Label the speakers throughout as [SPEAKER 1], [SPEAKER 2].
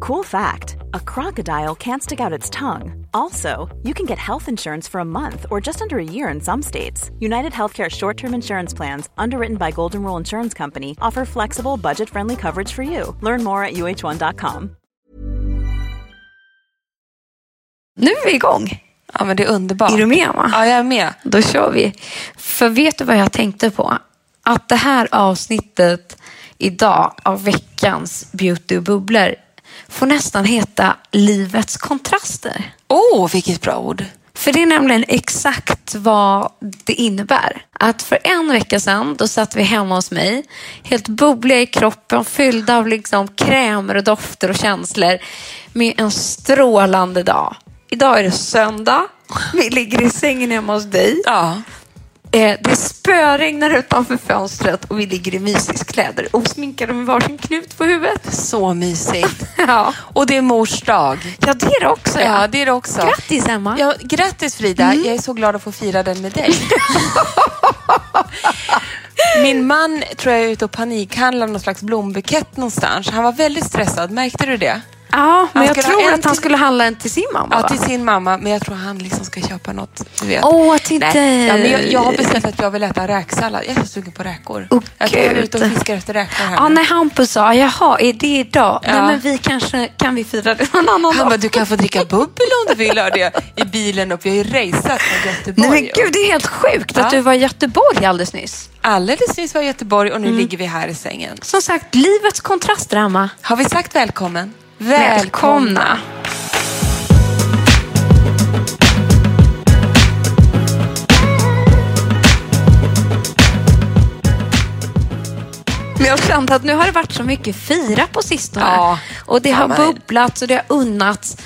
[SPEAKER 1] Cool fact a crocodile can't stick out its tongue. Also, you can get health insurance for a month or just under a year in some states. United Healthcare short term insurance plans, underwritten by Golden Rule Insurance Company, offer flexible, budget friendly coverage for you. Learn more at uh1.com.
[SPEAKER 2] Nu är vi igång.
[SPEAKER 3] Ja, men det är underbart.
[SPEAKER 2] Är du med, Emma?
[SPEAKER 3] Ja, jag är med.
[SPEAKER 2] Då kör vi. För vet du vad jag tänkte på? Att det här avsnittet idag av veckans Beauty och bubblor får nästan heta Livets kontraster.
[SPEAKER 3] Åh, oh, vilket bra ord.
[SPEAKER 2] För det är nämligen exakt vad det innebär. Att för en vecka sedan, då satt vi hemma hos mig, helt bubbliga i kroppen, fyllda av liksom krämer och dofter och känslor, med en strålande dag. Idag är det söndag, vi ligger i sängen hemma hos dig.
[SPEAKER 3] Ja.
[SPEAKER 2] Eh, Det spöregnar utanför fönstret och vi ligger i mysiskläder, osminkade med varsin knut på huvudet.
[SPEAKER 3] Så mysigt.
[SPEAKER 2] Ja,
[SPEAKER 3] Och det är mors dag.
[SPEAKER 2] ja det är det också. Ja.
[SPEAKER 3] det är det också.
[SPEAKER 2] Grattis, Mm. Emma.
[SPEAKER 3] Ja, grattis Frida. Jag är så glad att få fira den med dig. Min man tror jag är ute och panikhandlar någon slags blombukett någonstans. Han var väldigt stressad. Märkte du det?
[SPEAKER 2] Ja, men
[SPEAKER 3] Han
[SPEAKER 2] jag
[SPEAKER 3] skulle ha
[SPEAKER 2] tror
[SPEAKER 3] en
[SPEAKER 2] att han
[SPEAKER 3] till-
[SPEAKER 2] skulle handla en till sin mamma.
[SPEAKER 3] Ja,
[SPEAKER 2] va?
[SPEAKER 3] till sin mamma. Men jag tror han liksom ska köpa något. Du vet.
[SPEAKER 2] Åh, till dig.
[SPEAKER 3] Nej. Ja, men jag, jag har beställt att jag vill äta räksallad. Jag är så sugen på räkor.
[SPEAKER 2] Åh,
[SPEAKER 3] jag tror han är
[SPEAKER 2] Gud.
[SPEAKER 3] ute och fiskar efter räkor här
[SPEAKER 2] Ja,
[SPEAKER 3] nu.
[SPEAKER 2] när Ah, Hampus sa, jaha, är det idag?
[SPEAKER 3] Ja.
[SPEAKER 2] Nej, men vi kanske, kan vi fira det någon annan
[SPEAKER 3] Han
[SPEAKER 2] dag?
[SPEAKER 3] bara, du kan få dricka bubbel om du vill, hörde jag i bilen upp. Jag har ju raceat från
[SPEAKER 2] Nej,
[SPEAKER 3] Göteborg.
[SPEAKER 2] men gud, det är helt sjukt
[SPEAKER 3] Ja.
[SPEAKER 2] att du var i Göteborg alldeles nyss.
[SPEAKER 3] Alldeles nyss var jag i Göteborg och nu
[SPEAKER 2] Mm.
[SPEAKER 3] ligger vi här i sängen.
[SPEAKER 2] Som sagt, livets kontraster, Emma.
[SPEAKER 3] Har vi sagt välkommen?
[SPEAKER 2] Välkomna. Men jag kände att nu har det varit så mycket fira på sistone.
[SPEAKER 3] Ja.
[SPEAKER 2] Och det har
[SPEAKER 3] Ja, men-
[SPEAKER 2] bubblats och det har unnats.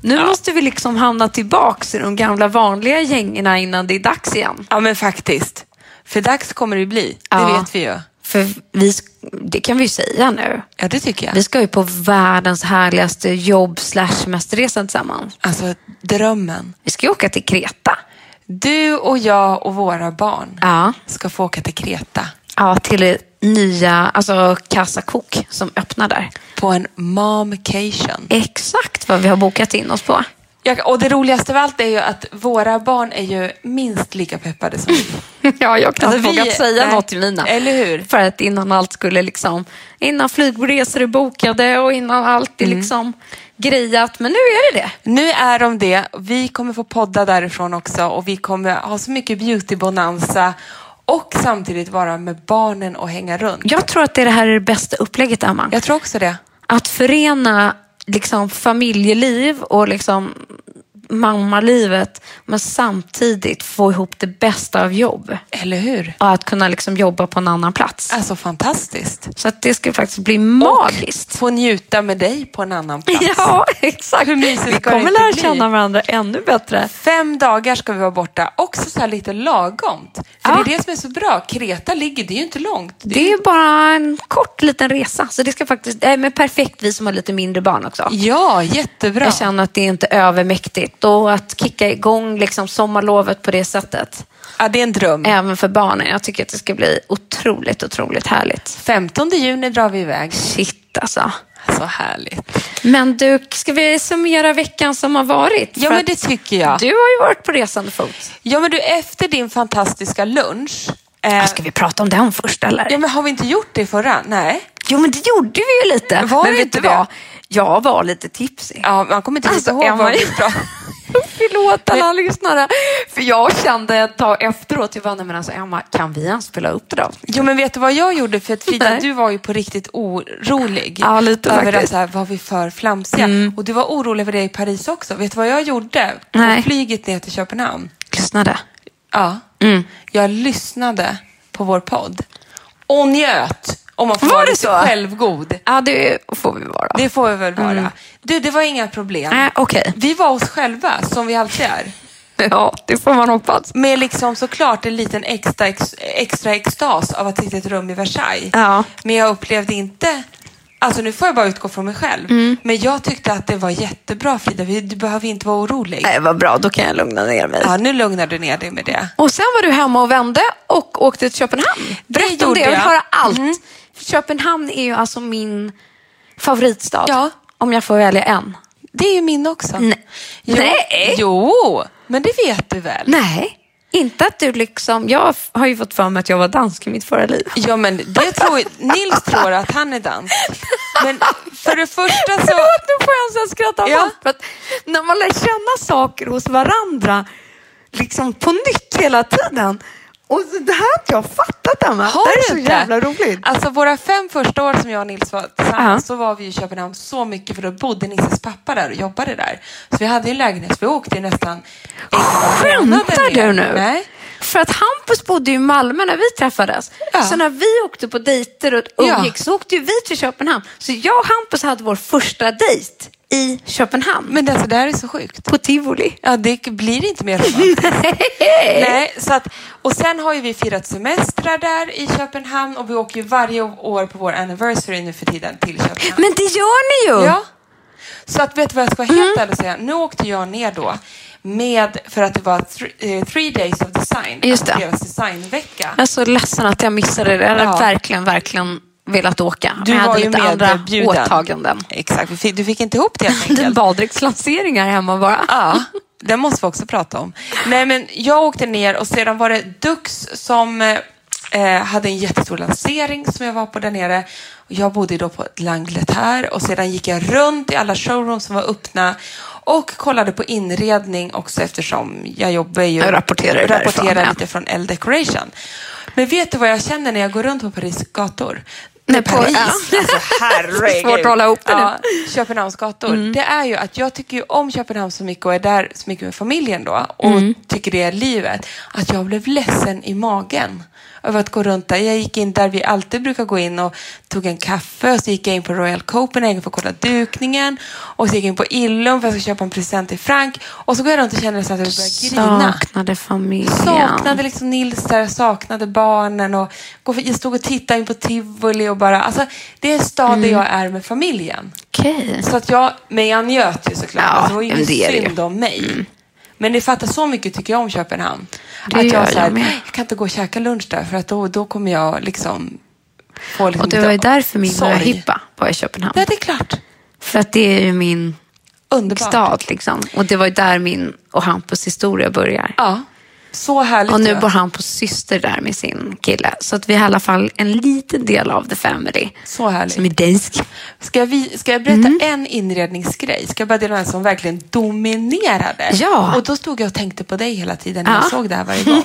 [SPEAKER 2] Nu måste vi liksom hamna tillbaks i de gamla vanliga gängerna innan det är dags igen.
[SPEAKER 3] Ja, men faktiskt. För dags kommer det bli. Det
[SPEAKER 2] Ja.
[SPEAKER 3] vet vi ju.
[SPEAKER 2] För vi, det kan vi ju säga nu.
[SPEAKER 3] Ja, det tycker jag.
[SPEAKER 2] Vi ska ju på världens härligaste jobb slash semesterresa tillsammans.
[SPEAKER 3] Alltså, drömmen.
[SPEAKER 2] Vi ska ju åka till Kreta.
[SPEAKER 3] Du och jag och våra barn
[SPEAKER 2] Ja.
[SPEAKER 3] ska få åka till Kreta
[SPEAKER 2] Ja, till det nya, alltså Casa Cook som öppnar där.
[SPEAKER 3] på en momcation.
[SPEAKER 2] Exakt vad vi har bokat in oss på.
[SPEAKER 3] Jag, och det roligaste av allt är ju att våra barn är ju minst lika peppade som vi.
[SPEAKER 2] Ja, jag kan
[SPEAKER 3] Alltså,
[SPEAKER 2] inte
[SPEAKER 3] vi-
[SPEAKER 2] vågat säga
[SPEAKER 3] nej,
[SPEAKER 2] något till mina.
[SPEAKER 3] eller hur?
[SPEAKER 2] För att innan allt skulle liksom, innan flygresor är bokade och innan allt är liksom grejat. Men nu är det det.
[SPEAKER 3] Nu är de det. Vi kommer få podda därifrån också och vi kommer ha så mycket beauty-bonanza och samtidigt vara med barnen och hänga runt.
[SPEAKER 2] Jag tror att det här är det bästa upplägget, Emma.
[SPEAKER 3] Jag tror också det.
[SPEAKER 2] Att förena liksom familjeliv och liksom mammalivet, men samtidigt få ihop det bästa av jobb.
[SPEAKER 3] Eller hur?
[SPEAKER 2] Och att kunna liksom jobba på en annan plats.
[SPEAKER 3] Alltså fantastiskt.
[SPEAKER 2] Så att det ska faktiskt bli magiskt.
[SPEAKER 3] Få njuta med dig på en annan plats.
[SPEAKER 2] Ja, exakt.
[SPEAKER 3] Hur mysigt
[SPEAKER 2] Vi
[SPEAKER 3] ska det
[SPEAKER 2] kommer
[SPEAKER 3] inte
[SPEAKER 2] lära
[SPEAKER 3] bli?
[SPEAKER 2] känna varandra ännu bättre.
[SPEAKER 3] Fem dagar ska vi vara borta. Också så här lite lagomt. För
[SPEAKER 2] Ja.
[SPEAKER 3] det är det som är så bra. Kreta ligger, det är ju inte långt.
[SPEAKER 2] Det är bara en kort liten resa. Så det ska faktiskt, nej, men perfekt vi som har lite mindre barn också.
[SPEAKER 3] Ja, jättebra.
[SPEAKER 2] Jag känner att det är inte övermäktigt. Och att kicka igång liksom sommarlovet på det sättet,
[SPEAKER 3] Ja, det är en dröm.
[SPEAKER 2] även för barnen. Jag tycker att det ska bli otroligt, otroligt härligt.
[SPEAKER 3] 15 juni drar vi iväg.
[SPEAKER 2] Shit alltså.
[SPEAKER 3] Så härligt.
[SPEAKER 2] Men du, ska vi summera veckan som har varit?
[SPEAKER 3] Ja,
[SPEAKER 2] För
[SPEAKER 3] men
[SPEAKER 2] att
[SPEAKER 3] det tycker jag.
[SPEAKER 2] Du har ju varit på resande fot.
[SPEAKER 3] Ja, men du, efter din fantastiska lunch. Eh,
[SPEAKER 2] Äh, Ska vi prata om den först eller?
[SPEAKER 3] ja, men har vi inte gjort det förra? Nej.
[SPEAKER 2] Jo, men det gjorde vi ju lite.
[SPEAKER 3] Var
[SPEAKER 2] men
[SPEAKER 3] det
[SPEAKER 2] vet
[SPEAKER 3] inte
[SPEAKER 2] du
[SPEAKER 3] det?
[SPEAKER 2] vad? Jag var lite tipsig.
[SPEAKER 3] Ja, man kommer inte
[SPEAKER 2] Alltså,
[SPEAKER 3] ihåg
[SPEAKER 2] Emma-
[SPEAKER 3] vad vi pratade
[SPEAKER 2] Förlåt alla lyssnare. För jag kände ett tag efteråt, jag bara, nej men alltså Emma, kan vi ens spela upp det då?
[SPEAKER 3] Jo, men vet du vad jag gjorde? För att Frida,
[SPEAKER 2] Nej.
[SPEAKER 3] du var ju på riktigt orolig.
[SPEAKER 2] Ja, lite
[SPEAKER 3] över
[SPEAKER 2] faktiskt. Mm.
[SPEAKER 3] att så här, var vi för flamsiga? Och du var orolig över det i Paris också. Vet du vad jag gjorde? På
[SPEAKER 2] Nej.
[SPEAKER 3] flyget ner till Köpenhamn.
[SPEAKER 2] Lyssnade.
[SPEAKER 3] Ja.
[SPEAKER 2] Mm.
[SPEAKER 3] Jag lyssnade på vår podd. Och njöt. Om man får
[SPEAKER 2] Var
[SPEAKER 3] vara
[SPEAKER 2] det
[SPEAKER 3] lite
[SPEAKER 2] så?
[SPEAKER 3] självgod.
[SPEAKER 2] Ja, det får vi vara.
[SPEAKER 3] Det får vi väl vara. Du, det var inga problem.
[SPEAKER 2] Mm. Nej, okej.
[SPEAKER 3] Vi var oss själva, som vi alltid är.
[SPEAKER 2] Ja, det får man hoppas.
[SPEAKER 3] Med liksom såklart en liten extra, ex, extra extas av att sitta i ett rum i Versailles.
[SPEAKER 2] Ja.
[SPEAKER 3] Men jag upplevde inte... Alltså nu får jag bara utgå från mig själv.
[SPEAKER 2] Mm.
[SPEAKER 3] Men jag tyckte att det var jättebra Frida. Vi- Du behöver inte vara orolig.
[SPEAKER 2] Nej, vad bra, då kan jag lugna ner mig.
[SPEAKER 3] Ja, nu lugnar du ner dig med det.
[SPEAKER 2] Och sen var du hemma och vände och åkte till Köpenhamn. Berätta om
[SPEAKER 3] gjorde
[SPEAKER 2] det, jag Mm. vill
[SPEAKER 3] jag.
[SPEAKER 2] höra allt. För Köpenhamn är ju alltså min favoritstad.
[SPEAKER 3] Ja,
[SPEAKER 2] Om jag får välja en.
[SPEAKER 3] Det är ju min också.
[SPEAKER 2] Nej.
[SPEAKER 3] Jo,
[SPEAKER 2] Nej.
[SPEAKER 3] jo, men det vet du väl?
[SPEAKER 2] Nej, inte att du liksom... Jag har ju fått för mig att jag var dansk i mitt förra liv.
[SPEAKER 3] Ja, men det tror, Nils tror att han är dansk. Men för det första så...
[SPEAKER 2] Förlåt, nu får jag en sån skratt av
[SPEAKER 3] Ja.
[SPEAKER 2] allt, för att När man lär känna saker hos varandra liksom på nytt hela tiden. Och så- det här har inte jag fattat Emma. det här
[SPEAKER 3] du
[SPEAKER 2] är så
[SPEAKER 3] inte?
[SPEAKER 2] jävla roligt.
[SPEAKER 3] Alltså våra fem första år som jag och Nils var
[SPEAKER 2] Ja.
[SPEAKER 3] tillsammans så var vi i Köpenhamn så mycket för då bodde Nisses pappa där och jobbade där. Så vi hade ju en lägenhet så vi åkte ju nästan en månad
[SPEAKER 2] Skämtar
[SPEAKER 3] ner.
[SPEAKER 2] du nu?
[SPEAKER 3] Nej.
[SPEAKER 2] För att Hampus bodde ju i Malmö när vi träffades.
[SPEAKER 3] Ja.
[SPEAKER 2] Så när vi åkte på dejter och
[SPEAKER 3] Ja.
[SPEAKER 2] umgicks så åkte ju vi till Köpenhamn. Så jag och Hampus hade vår första dejt i Köpenhamn.
[SPEAKER 3] Men alltså det här är så sjukt.
[SPEAKER 2] på tivoli.
[SPEAKER 3] Ja, det blir inte mer romantiskt. Nej, så att, och sen har ju vi firat semestrar där i Köpenhamn och vi åker ju varje år på vår anniversary nu för tiden till Köpenhamn.
[SPEAKER 2] Men det gör ni ju!
[SPEAKER 3] Ja. Så att vet du vad jag ska vara
[SPEAKER 2] Mm.
[SPEAKER 3] helt ärlig och säga? Nu åkte jag ner då med, för att det var th- eh, three days of design,
[SPEAKER 2] Just det.
[SPEAKER 3] alltså deras designvecka.
[SPEAKER 2] Jag är så ledsen att jag missade det. Jag hade
[SPEAKER 3] Ja.
[SPEAKER 2] verkligen, verkligen velat åka.
[SPEAKER 3] Du
[SPEAKER 2] Men jag
[SPEAKER 3] var
[SPEAKER 2] hade
[SPEAKER 3] ju
[SPEAKER 2] lite andra
[SPEAKER 3] medbjuden.
[SPEAKER 2] åtaganden.
[SPEAKER 3] Exakt, vi fick, du fick inte ihop det helt
[SPEAKER 2] Det är
[SPEAKER 3] enkelt.
[SPEAKER 2] baddräktslanseringar hemma bara.
[SPEAKER 3] Ja, den måste vi också prata om. Nej, men jag åkte ner och sedan var det Dux som eh, hade en jättestor lansering som jag var på där nere. Och Jag bodde då på Langletär och sedan gick jag runt i alla showrooms som var öppna och kollade på inredning också eftersom jag jobbar ju
[SPEAKER 2] Jag rapporterar ju därifrån,
[SPEAKER 3] rapporterar
[SPEAKER 2] ja.
[SPEAKER 3] lite från L Decoration. Men vet du vad jag känner när jag går runt på Paris gator?
[SPEAKER 2] Nej, på-
[SPEAKER 3] Paris!
[SPEAKER 2] ja.
[SPEAKER 3] Alltså herregud!
[SPEAKER 2] Svårt att hålla ihop det nu. Mm.
[SPEAKER 3] Ja. Köpenhamns gator, det är ju att jag tycker ju om Köpenhamn så mycket och är där så mycket med familjen då och
[SPEAKER 2] Mm.
[SPEAKER 3] tycker det är livet, att jag blev ledsen i magen över att gå runt där. Jag gick in där vi alltid brukar gå in och tog en kaffe och så gick jag in på Royal Copenhagen för att kolla dukningen och så gick jag in på Illum för att jag ska köpa en present till Frank och så går jag runt och känner så att jag börjar grina.
[SPEAKER 2] Saknade familjen.
[SPEAKER 3] Saknade liksom Nils där, saknade barnen och gå för- jag stod och tittade in på tivoli och bara, alltså det är en stad
[SPEAKER 2] Mm.
[SPEAKER 3] där jag är med familjen.
[SPEAKER 2] Okej.
[SPEAKER 3] Så att jag, men jag njöt ju såklart.
[SPEAKER 2] Ja,
[SPEAKER 3] alltså, det var ju
[SPEAKER 2] men
[SPEAKER 3] ingen
[SPEAKER 2] det är det ju. Mm.
[SPEAKER 3] synd om mig. Men ni fattar, så mycket tycker jag om Köpenhamn.
[SPEAKER 2] Det
[SPEAKER 3] att
[SPEAKER 2] gör
[SPEAKER 3] jag, så här,
[SPEAKER 2] jag med.
[SPEAKER 3] jag kan inte gå och käka lunch där för att då, då kommer jag liksom få liksom
[SPEAKER 2] Och det
[SPEAKER 3] lite
[SPEAKER 2] var ju därför min
[SPEAKER 3] sorg.
[SPEAKER 2] möhippa var i Köpenhamn.
[SPEAKER 3] Nej, det är klart.
[SPEAKER 2] För att det är ju min
[SPEAKER 3] Underbart.
[SPEAKER 2] stad liksom. Och det var ju där min och Hampus historia börjar.
[SPEAKER 3] Ja, så härligt.
[SPEAKER 2] Och
[SPEAKER 3] ju.
[SPEAKER 2] nu bor Hampus syster där med sin kille. Så att vi är i alla fall en liten del av the family.
[SPEAKER 3] Så härligt.
[SPEAKER 2] Som är dansk.
[SPEAKER 3] Ska jag, vi, ska jag berätta
[SPEAKER 2] Mm.
[SPEAKER 3] en inredningsgrej? Ska jag bara dela en som verkligen dominerade?
[SPEAKER 2] Ja.
[SPEAKER 3] Och då stod jag och tänkte på dig hela tiden när
[SPEAKER 2] Ja.
[SPEAKER 3] jag såg det här varje gång.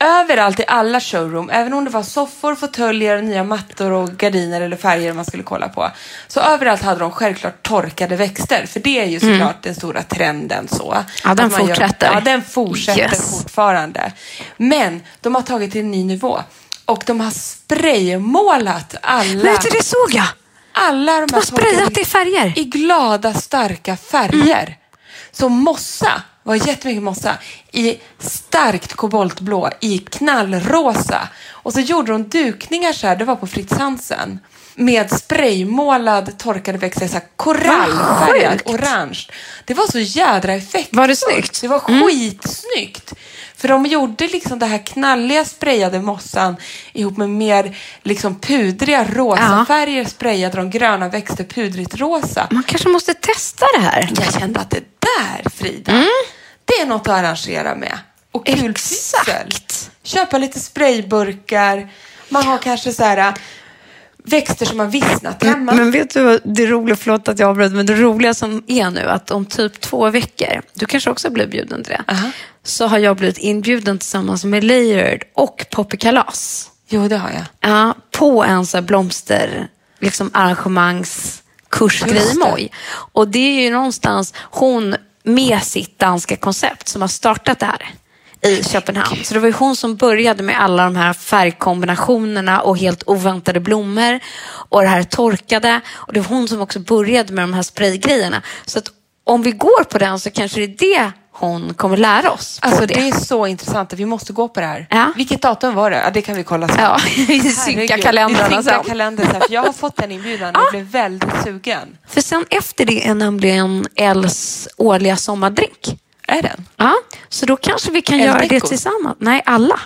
[SPEAKER 3] Överallt i alla showroom, även om det var soffor, fåtöljer, nya mattor och gardiner eller färger man skulle kolla på. Så överallt hade de självklart torkade växter, för det är ju såklart den stora trenden så.
[SPEAKER 2] Mm. Ja, den
[SPEAKER 3] Att man
[SPEAKER 2] fortsätter.
[SPEAKER 3] Gör, ja, den fortsätter
[SPEAKER 2] Yes.
[SPEAKER 3] fortfarande. Men de har tagit till en ny nivå. Och de har spraymålat alla
[SPEAKER 2] Vet du, det såg jag!
[SPEAKER 3] alla de här
[SPEAKER 2] De har sprayat
[SPEAKER 3] torkade-
[SPEAKER 2] i färger.
[SPEAKER 3] I glada, starka färger. Så mossa, var jättemycket mossa, i starkt koboltblå, i knallrosa. Och så gjorde de dukningar så här, det var på Fritz Hansen, med spraymålad torkade växter, så här korallfärgat,
[SPEAKER 2] sjukt.
[SPEAKER 3] orange. Det var så jädra effekt.
[SPEAKER 2] Var det snyggt? Mm.
[SPEAKER 3] Det var skitsnyggt. För de gjorde liksom det här knalliga sprayade mossan ihop med mer liksom pudriga rosa
[SPEAKER 2] Ja.
[SPEAKER 3] färger sprayade de gröna växter pudrigt rosa.
[SPEAKER 2] Man kanske måste testa det här.
[SPEAKER 3] Jag kände att det där, Frida,
[SPEAKER 2] Mm.
[SPEAKER 3] det är något att arrangera med. Och kul
[SPEAKER 2] Exakt.
[SPEAKER 3] pyssel. Köpa lite sprayburkar. Man har kanske så här äh, växter som har vissnat hemma.
[SPEAKER 2] Mm, Men vet du vad det roliga, förlåt att jag avbröt, men det roliga som är nu att om typ två veckor, du kanske också blir bjuden till det,
[SPEAKER 3] Aha.
[SPEAKER 2] så har jag blivit inbjuden tillsammans med Layered och Poppy Kalas
[SPEAKER 3] Jo, det har jag.
[SPEAKER 2] ja, på en så här blomster, liksom arrangemangskurs
[SPEAKER 3] Just det.
[SPEAKER 2] Grimoj. Och det är ju någonstans hon med sitt danska koncept som har startat det här i Köpenhamn. Så det var ju hon som började med alla de här färgkombinationerna och helt oväntade blommor och det här torkade. Och det var hon som också började med de här spraygrejerna. Så att om vi går på den så kanske det är det hon kommer lära oss. på
[SPEAKER 3] Alltså det. är så intressant. Vi måste gå på det här.
[SPEAKER 2] Ja.
[SPEAKER 3] Vilket datum var det? Ja, det kan vi kolla sen.
[SPEAKER 2] Ja, vi synkar
[SPEAKER 3] Herregud,
[SPEAKER 2] kalendrarna
[SPEAKER 3] vi synkar
[SPEAKER 2] sen.
[SPEAKER 3] kalendern sen. För jag har fått den inbjudan och
[SPEAKER 2] Ja.
[SPEAKER 3] jag blev väldigt sugen.
[SPEAKER 2] För sen efter det är nämligen Els årliga sommardrink.
[SPEAKER 3] Är den?
[SPEAKER 2] Ja, så då kanske vi kan
[SPEAKER 3] El
[SPEAKER 2] göra det
[SPEAKER 3] Deco?
[SPEAKER 2] tillsammans. Nej, alla.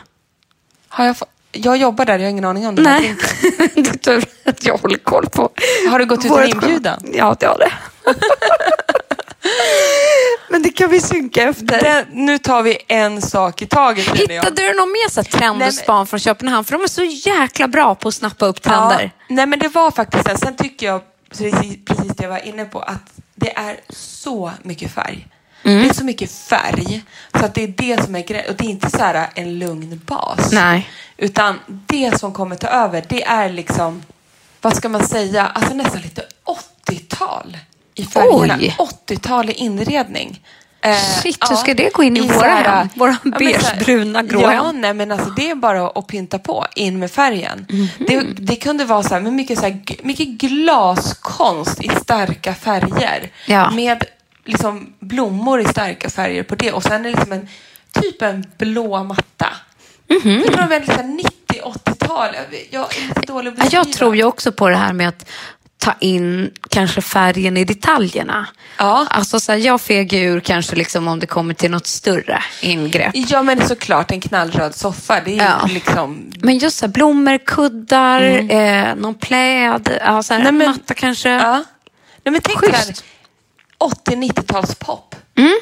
[SPEAKER 3] Har jag fått? Jag jobbar där, jag har ingen aning om det.
[SPEAKER 2] Nej, det är tur att jag håller koll på
[SPEAKER 3] Har du gått ut en
[SPEAKER 2] vårt-
[SPEAKER 3] inbjudan?
[SPEAKER 2] Ja, det har det. Men det kan vi synka efter.
[SPEAKER 3] Den, nu tar vi en sak i taget. känner jag.
[SPEAKER 2] Hittade du någon mer så här trend
[SPEAKER 3] Nej,
[SPEAKER 2] och
[SPEAKER 3] men-
[SPEAKER 2] span från Köpenhamn? För de är så jäkla bra på att snappa upp trender.
[SPEAKER 3] Ja, nej men det var faktiskt det. Sen tycker jag, precis, precis det jag var inne på, att det är så mycket färg.
[SPEAKER 2] Mm.
[SPEAKER 3] Det är så mycket färg, så att det är det som är grejen. Och det är inte så här en lugn bas.
[SPEAKER 2] Nej.
[SPEAKER 3] Utan det som kommer ta över, det är liksom, vad ska man säga, alltså nästan lite 80-tal i färgerna.
[SPEAKER 2] Oj.
[SPEAKER 3] 80-tal i inredning. Eh,
[SPEAKER 2] Shit, hur ska det gå in i våra
[SPEAKER 3] så här-
[SPEAKER 2] hem? Våra
[SPEAKER 3] men
[SPEAKER 2] beige,
[SPEAKER 3] så här-
[SPEAKER 2] bruna, grå
[SPEAKER 3] ja,
[SPEAKER 2] hem.
[SPEAKER 3] Nej, men alltså, det är bara att pynta på, in med färgen.
[SPEAKER 2] Mhm.
[SPEAKER 3] Det, det kunde vara så här, med mycket, så här, g- mycket glaskonst i starka färger.
[SPEAKER 2] Ja.
[SPEAKER 3] Med liksom, blommor i starka färger på det. Och sen är det liksom en, typ en blå matta. Mm-hmm. Jag tror de väldigt så här 90-80-tal. Jag är lite dålig på
[SPEAKER 2] Ja,
[SPEAKER 3] att
[SPEAKER 2] Jag
[SPEAKER 3] beskriva.
[SPEAKER 2] tror ju också på det här med att ta in kanske färgen i detaljerna.
[SPEAKER 3] Ja.
[SPEAKER 2] Alltså så här, jag fegar ju ur kanske liksom om det kommer till något större ingrepp.
[SPEAKER 3] Ja, men såklart en knallröd soffa. Det är
[SPEAKER 2] Ja.
[SPEAKER 3] ju liksom...
[SPEAKER 2] Men just så här, blommor, kuddar, eh, någon pläd, ja, så här,
[SPEAKER 3] Mm. Nej, men-
[SPEAKER 2] matta kanske.
[SPEAKER 3] Ja. Nej, men tänk så här,
[SPEAKER 2] Schysst.
[SPEAKER 3] 80-90-talspop.
[SPEAKER 2] Mm,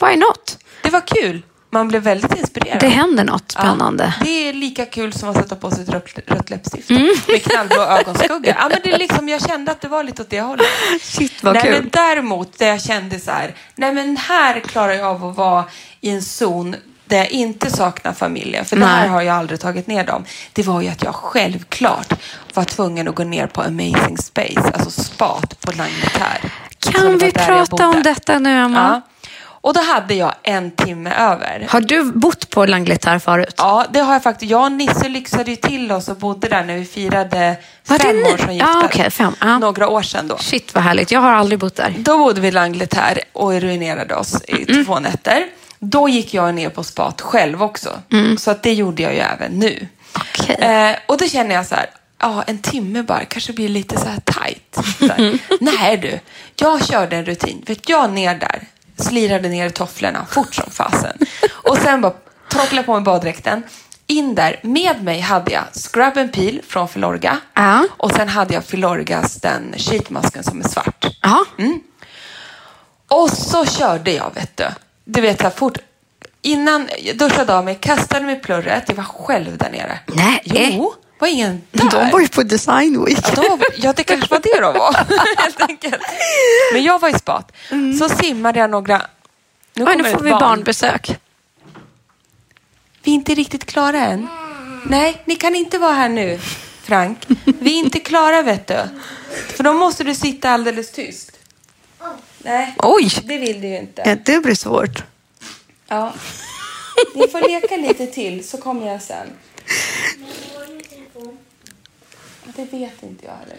[SPEAKER 2] why not?
[SPEAKER 3] Det var kul. Man blev väldigt inspirerad.
[SPEAKER 2] Det händer något spännande. Mm.
[SPEAKER 3] Ja, det är lika kul som att sätta på sig ett rött, rött läppstift med knallblå ögonskugga. Ja, men det är liksom, jag kände att det var lite åt det hållet.
[SPEAKER 2] Shit, vad
[SPEAKER 3] nej,
[SPEAKER 2] kul.
[SPEAKER 3] Men däremot, där jag kände så här, nej men här klarar jag av att vara i en zon där jag inte saknar familjen, för det här
[SPEAKER 2] Nej.
[SPEAKER 3] har jag aldrig tagit ner dem. Det var ju att jag självklart var tvungen att gå ner på Amazing Space, alltså spat på Langmetär. Som
[SPEAKER 2] Kan
[SPEAKER 3] var
[SPEAKER 2] vi
[SPEAKER 3] där jag
[SPEAKER 2] prata
[SPEAKER 3] bodde.
[SPEAKER 2] om detta nu,
[SPEAKER 3] Ja.
[SPEAKER 2] Emma?
[SPEAKER 3] Och då hade jag en timme över.
[SPEAKER 2] Har du bott på Langletär förut?
[SPEAKER 3] Ja, det har jag faktiskt. Jag och Nisse lyxade ju till oss och bodde där när vi firade
[SPEAKER 2] Var det
[SPEAKER 3] fem
[SPEAKER 2] ni?
[SPEAKER 3] år som gifta.
[SPEAKER 2] Ja, okej, fem. Ja.
[SPEAKER 3] Några år sedan då.
[SPEAKER 2] Shit, vad härligt. Jag har aldrig bott där.
[SPEAKER 3] Då bodde vi i Langlet här och ruinerade oss i
[SPEAKER 2] Mm.
[SPEAKER 3] två nätter. Då gick jag ner på spat själv också. Så att det gjorde jag ju även nu.
[SPEAKER 2] Mm. Okej.
[SPEAKER 3] Eh, och då känner jag så här, ja en timme bara kanske blir lite så här tajt. Så
[SPEAKER 2] Mm.
[SPEAKER 3] här. Nej du, jag körde en rutin. Vet jag ner där, slirade ner tofflorna fort som fasen. Och sen bara torklade på mig baddräkten. In där, med mig hade jag Scrub and Peel från Filorga.
[SPEAKER 2] Ja.
[SPEAKER 3] Och sen hade jag Filorgas den sheetmasken som är svart.
[SPEAKER 2] Ja.
[SPEAKER 3] Och så körde jag, vet du. Du vet, så här fort. Innan jag duschade av mig, kastade mig i plurret. Jag var själv där nere.
[SPEAKER 2] Nej.
[SPEAKER 3] Jo, var ingen där.
[SPEAKER 2] ju på Design Week.
[SPEAKER 3] Ja, de var- ja, det kanske var det de var, helt enkelt. Men jag var i spat. Så simmade jag några...
[SPEAKER 2] Oj,
[SPEAKER 3] Nu, kommer
[SPEAKER 2] Mm. nu får
[SPEAKER 3] ett
[SPEAKER 2] vi barnbesök.
[SPEAKER 3] Vi är inte riktigt klara än. Nej, ni kan inte vara här nu, Frank. Vi är inte klara, vet du. För då måste du sitta alldeles tyst. Nej,
[SPEAKER 2] Oj!
[SPEAKER 3] det vill du ju inte.
[SPEAKER 2] det blir svårt.
[SPEAKER 3] Ja. Ni får leka lite till så kommer jag sen. Det vet inte jag heller.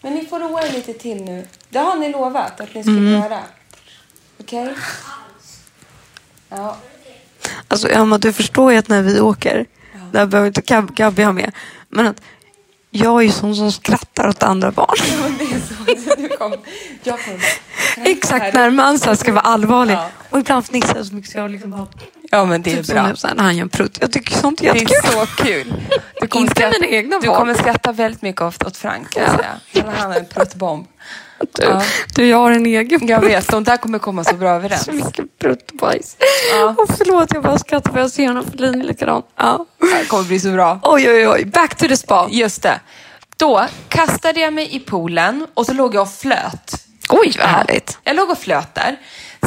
[SPEAKER 3] Men ni får roa er lite till nu. Det har ni lovat att ni skulle göra. Okej? Ja.
[SPEAKER 4] Alltså Emma, du förstår ju att när vi åker, där behöver inte Gab- Gabby ha med, men att jag är ju sån som skrattar åt andra barn.
[SPEAKER 3] Men det är så. Du kom. Jag kommer bara-
[SPEAKER 4] Exakt när man så här ska vara allvarlig.
[SPEAKER 3] Ja.
[SPEAKER 4] Och ibland fnissar jag så mycket så jag liksom bara,
[SPEAKER 3] Ja, men det
[SPEAKER 4] typ som nu, så här, när han gör en prutt. Jag tycker sånt är
[SPEAKER 3] Det
[SPEAKER 4] jättekul.
[SPEAKER 3] är så kul. Du
[SPEAKER 4] Inte mina egna
[SPEAKER 3] du
[SPEAKER 4] barn.
[SPEAKER 3] kommer skratta väldigt mycket åt åt Frank. kan jag säga. Han är en pruttbomb.
[SPEAKER 4] Du,
[SPEAKER 3] Ja.
[SPEAKER 4] du, jag har en egen
[SPEAKER 3] Jag vet, de där kommer komma så bra överens.
[SPEAKER 4] så mycket pruttbajs.
[SPEAKER 3] Ja.
[SPEAKER 4] Och förlåt, jag bara skrattar för jag ser honom för Lina likadant. Ja.
[SPEAKER 3] Det här kommer bli så bra.
[SPEAKER 4] Oj, oj, oj. Back to the spa.
[SPEAKER 3] Just det. Då kastade jag mig i poolen och så låg jag och flöt.
[SPEAKER 2] Oj, vad härligt.
[SPEAKER 3] Jag låg och flöt där.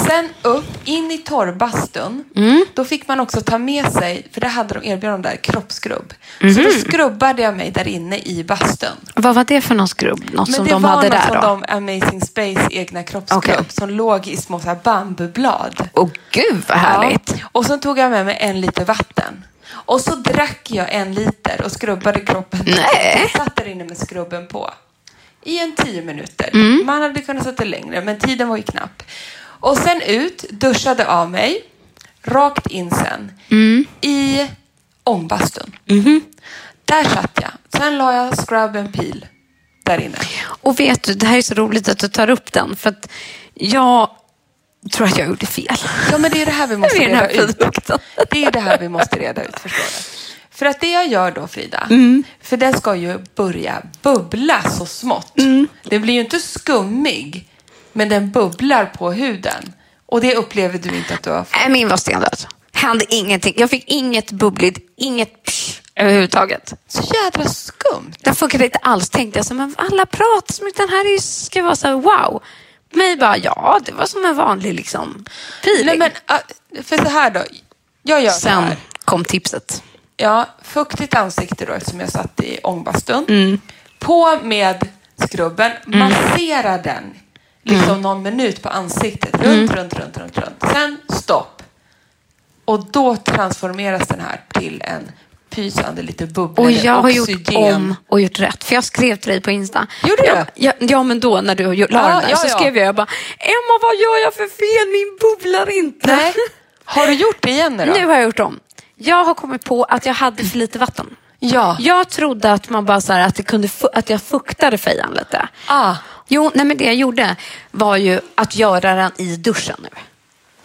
[SPEAKER 3] Sen upp, in i torrbastun.
[SPEAKER 2] Mm.
[SPEAKER 3] Då fick man också ta med sig, för det hade de erbjudit de där, kroppsskrubb. Så
[SPEAKER 2] Mhm.
[SPEAKER 3] då skrubbade jag mig där inne i bastun.
[SPEAKER 2] Vad var det för någon skrubb? Något som
[SPEAKER 3] det
[SPEAKER 2] de
[SPEAKER 3] var
[SPEAKER 2] hade
[SPEAKER 3] någon
[SPEAKER 2] där
[SPEAKER 3] som
[SPEAKER 2] då?
[SPEAKER 3] de Amazing Space egna kroppsklubb
[SPEAKER 2] Okej.
[SPEAKER 3] som låg i små så här bambublad.
[SPEAKER 2] Åh gud vad härligt.
[SPEAKER 3] Ja. Och så tog jag med mig en liter vatten. Och så drack jag en liter och skrubbade kroppen.
[SPEAKER 2] Nej.
[SPEAKER 3] Jag satt där inne med skrubben på. I en tio minuter. Man hade kunnat sätta längre, men tiden var ju knapp. Och sen ut, duschade av mig. Rakt in sen. I ångbastun. Där satt jag. Sen la jag scrub and peel där inne.
[SPEAKER 2] Och vet du, det här är så roligt att du tar upp den för att jag tror att jag gjorde fel.
[SPEAKER 3] Ja, men det är det här vi måste
[SPEAKER 2] Det är den
[SPEAKER 3] reda
[SPEAKER 2] här
[SPEAKER 3] ut.
[SPEAKER 2] produkten.
[SPEAKER 3] Det är det här vi måste reda ut, förstår du. För att det jag gör då, Frida, för den ska ju börja bubbla så smått. Den blir ju inte skummig, men den bubblar på huden. Och det upplever du inte att du har fått.
[SPEAKER 4] Nej, min var stendöd. Hände ingenting. Jag fick inget bubbligt, inget psh, överhuvudtaget.
[SPEAKER 3] Äh, Så jädra skumt.
[SPEAKER 4] Den funkade inte alls. Tänkte jag så, men alla pratar som den här är ju- ska vara så här, wow. Mig bara, ja, det var som en vanlig liksom feeling.
[SPEAKER 3] Nej, men, ah, för så här då. Jag gör så
[SPEAKER 4] Sen
[SPEAKER 3] här.
[SPEAKER 4] kom tipset.
[SPEAKER 3] Ja, fuktigt ansikte då eftersom jag satt i ångbastun.
[SPEAKER 2] Mm.
[SPEAKER 3] På med skrubben, massera den liksom
[SPEAKER 2] Mm.
[SPEAKER 3] någon minut på ansiktet. Runt, runt, runt, runt, runt. Sen stopp. Och då transformeras den här till en pysande lite bubbla.
[SPEAKER 2] Och
[SPEAKER 3] eller
[SPEAKER 2] jag har gjort
[SPEAKER 3] oxygen.
[SPEAKER 2] om och gjort rätt. För jag skrev till dig på Insta.
[SPEAKER 3] Gjorde
[SPEAKER 2] ja,
[SPEAKER 3] du?
[SPEAKER 2] ja, ja, men då när du la
[SPEAKER 3] Ja,
[SPEAKER 2] den där
[SPEAKER 3] ja,
[SPEAKER 2] så
[SPEAKER 3] ja.
[SPEAKER 2] skrev jag, jag bara, Emma vad gör jag för fel? Min bubblar inte.
[SPEAKER 3] Nej. Har du gjort det igen nu då?
[SPEAKER 2] Nu har jag gjort om. Jag har kommit på att jag hade för lite vatten.
[SPEAKER 3] Ja.
[SPEAKER 2] Jag trodde att, man bara så här, att, det kunde fu- att jag fuktade fejan lite.
[SPEAKER 3] Ah.
[SPEAKER 2] Jo, nej, men det jag gjorde var ju att göra den i duschen nu.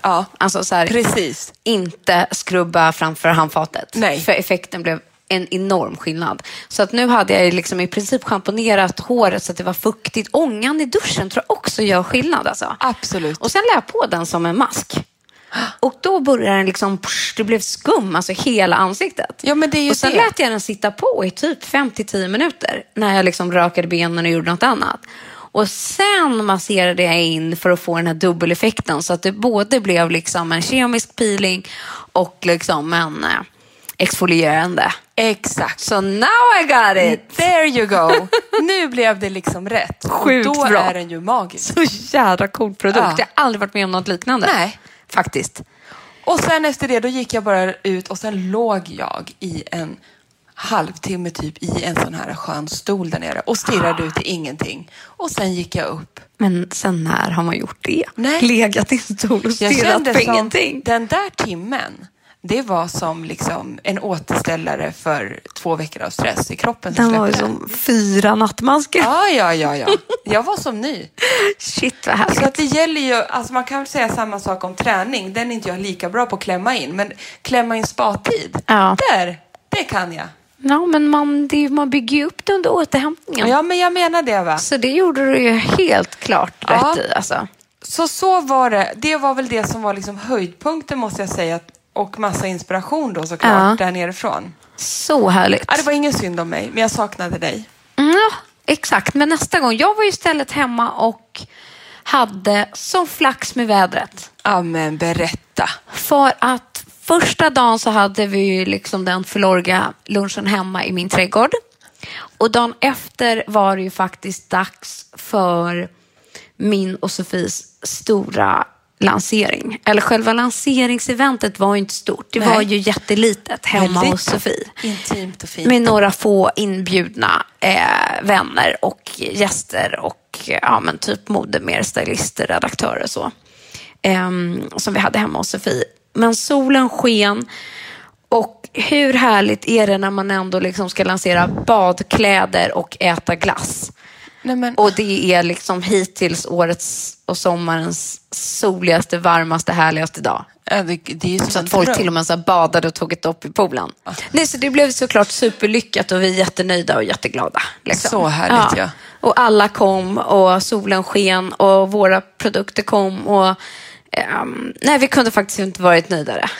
[SPEAKER 3] ja.
[SPEAKER 2] Alltså så här,
[SPEAKER 3] Precis.
[SPEAKER 2] inte skrubba framför handfatet.
[SPEAKER 3] Nej.
[SPEAKER 2] För effekten blev en enorm skillnad. Så att nu hade jag ju liksom i princip schamponerat håret så att det var fuktigt. Ångan i duschen tror jag också gör skillnad. Alltså.
[SPEAKER 3] Absolut.
[SPEAKER 2] Och sen la jag på den som en mask. Och då började den liksom, psh, det blev skum, alltså hela ansiktet.
[SPEAKER 3] Ja, men det är ju
[SPEAKER 2] och sen
[SPEAKER 3] det.
[SPEAKER 2] lät jag den sitta på i typ 5-10 minuter när jag liksom rakade benen och gjorde något annat. Och sen masserade jag in för att få den här dubbeleffekten så att det både blev liksom en kemisk peeling och liksom en eh, exfolierande.
[SPEAKER 3] Exakt.
[SPEAKER 2] So now I got it!
[SPEAKER 3] There you go. Nu blev det liksom rätt.
[SPEAKER 2] Sjukt
[SPEAKER 3] Och Då
[SPEAKER 2] bra.
[SPEAKER 3] är den ju magisk.
[SPEAKER 2] Så jädra cool produkt.
[SPEAKER 3] Ja.
[SPEAKER 2] Jag har aldrig varit med om något liknande.
[SPEAKER 3] Nej.
[SPEAKER 2] Faktiskt.
[SPEAKER 3] Och sen efter det, då gick jag bara ut och sen låg jag i en halvtimme typ i en sån här skön stol där nere och stirrade ut i ingenting. Och sen gick jag upp.
[SPEAKER 2] Men sen när har man gjort det?
[SPEAKER 3] Nej.
[SPEAKER 2] Legat i en stol och
[SPEAKER 3] Jag
[SPEAKER 2] stirrat på ingenting.
[SPEAKER 3] den där timmen, det var som liksom en återställare för två veckor av stress i kroppen som
[SPEAKER 4] Den var ju
[SPEAKER 3] släppte.
[SPEAKER 4] som fyra nattmasker.
[SPEAKER 3] Ja, ja, ja, ja. Jag var som ny.
[SPEAKER 2] Shit vad
[SPEAKER 3] Så
[SPEAKER 2] härligt.
[SPEAKER 3] att det gäller ju, alltså man kan väl säga samma sak om träning. Den är inte jag lika bra på att klämma in, men klämma in spatid.
[SPEAKER 2] Ja.
[SPEAKER 3] Där, det kan jag.
[SPEAKER 2] Ja, men man, det, man bygger ju upp det under återhämtningen.
[SPEAKER 3] Ja, men jag menar det va.
[SPEAKER 2] Så det gjorde du ju helt klart
[SPEAKER 3] Ja.
[SPEAKER 2] rätt i. Alltså.
[SPEAKER 3] Så så var det. Det var väl det som var liksom höjdpunkten måste jag säga. Och massa inspiration då såklart
[SPEAKER 2] Ja.
[SPEAKER 3] där nerifrån.
[SPEAKER 2] Så härligt.
[SPEAKER 3] Ja, det var ingen synd om mig, men jag saknade dig.
[SPEAKER 2] Mm, Ja, exakt. Men nästa gång. Jag var ju istället hemma och hade sån flax med vädret.
[SPEAKER 3] Ja, men berätta.
[SPEAKER 2] För att första dagen så hade vi ju liksom den förlorga lunchen hemma i min trädgård. Och dagen efter var det ju faktiskt dags för min och Sofis stora lansering. Eller själva lanseringseventet var ju inte stort. Det
[SPEAKER 3] Nej.
[SPEAKER 2] var ju jättelitet hemma
[SPEAKER 3] Väldigt
[SPEAKER 2] hos Sofie.
[SPEAKER 3] Intimt och fint.
[SPEAKER 2] Med några få inbjudna eh, vänner och gäster och eh, ja, men typ modemer, stylister, redaktörer och så. Ehm, som vi hade hemma hos Sofie. Men solen sken och hur härligt är det när man ändå liksom ska lansera badkläder och äta glass?
[SPEAKER 3] Nej, men,
[SPEAKER 2] Och det är liksom hittills årets och sommarens soligaste, varmaste, härligaste dag.
[SPEAKER 3] ja, det, det är ju som
[SPEAKER 2] Så
[SPEAKER 3] en
[SPEAKER 2] att folk
[SPEAKER 3] dröm.
[SPEAKER 2] till och med så här badade och tog ett dopp i poolen.
[SPEAKER 3] Ah.
[SPEAKER 2] Nej, så det blev såklart superlyckat och vi är jättenöjda och jätteglada. Liksom.
[SPEAKER 3] Så härligt, ja.
[SPEAKER 2] Och alla kom och solen sken och våra produkter kom. Och, ehm, nej, vi kunde faktiskt inte varit nöjdare.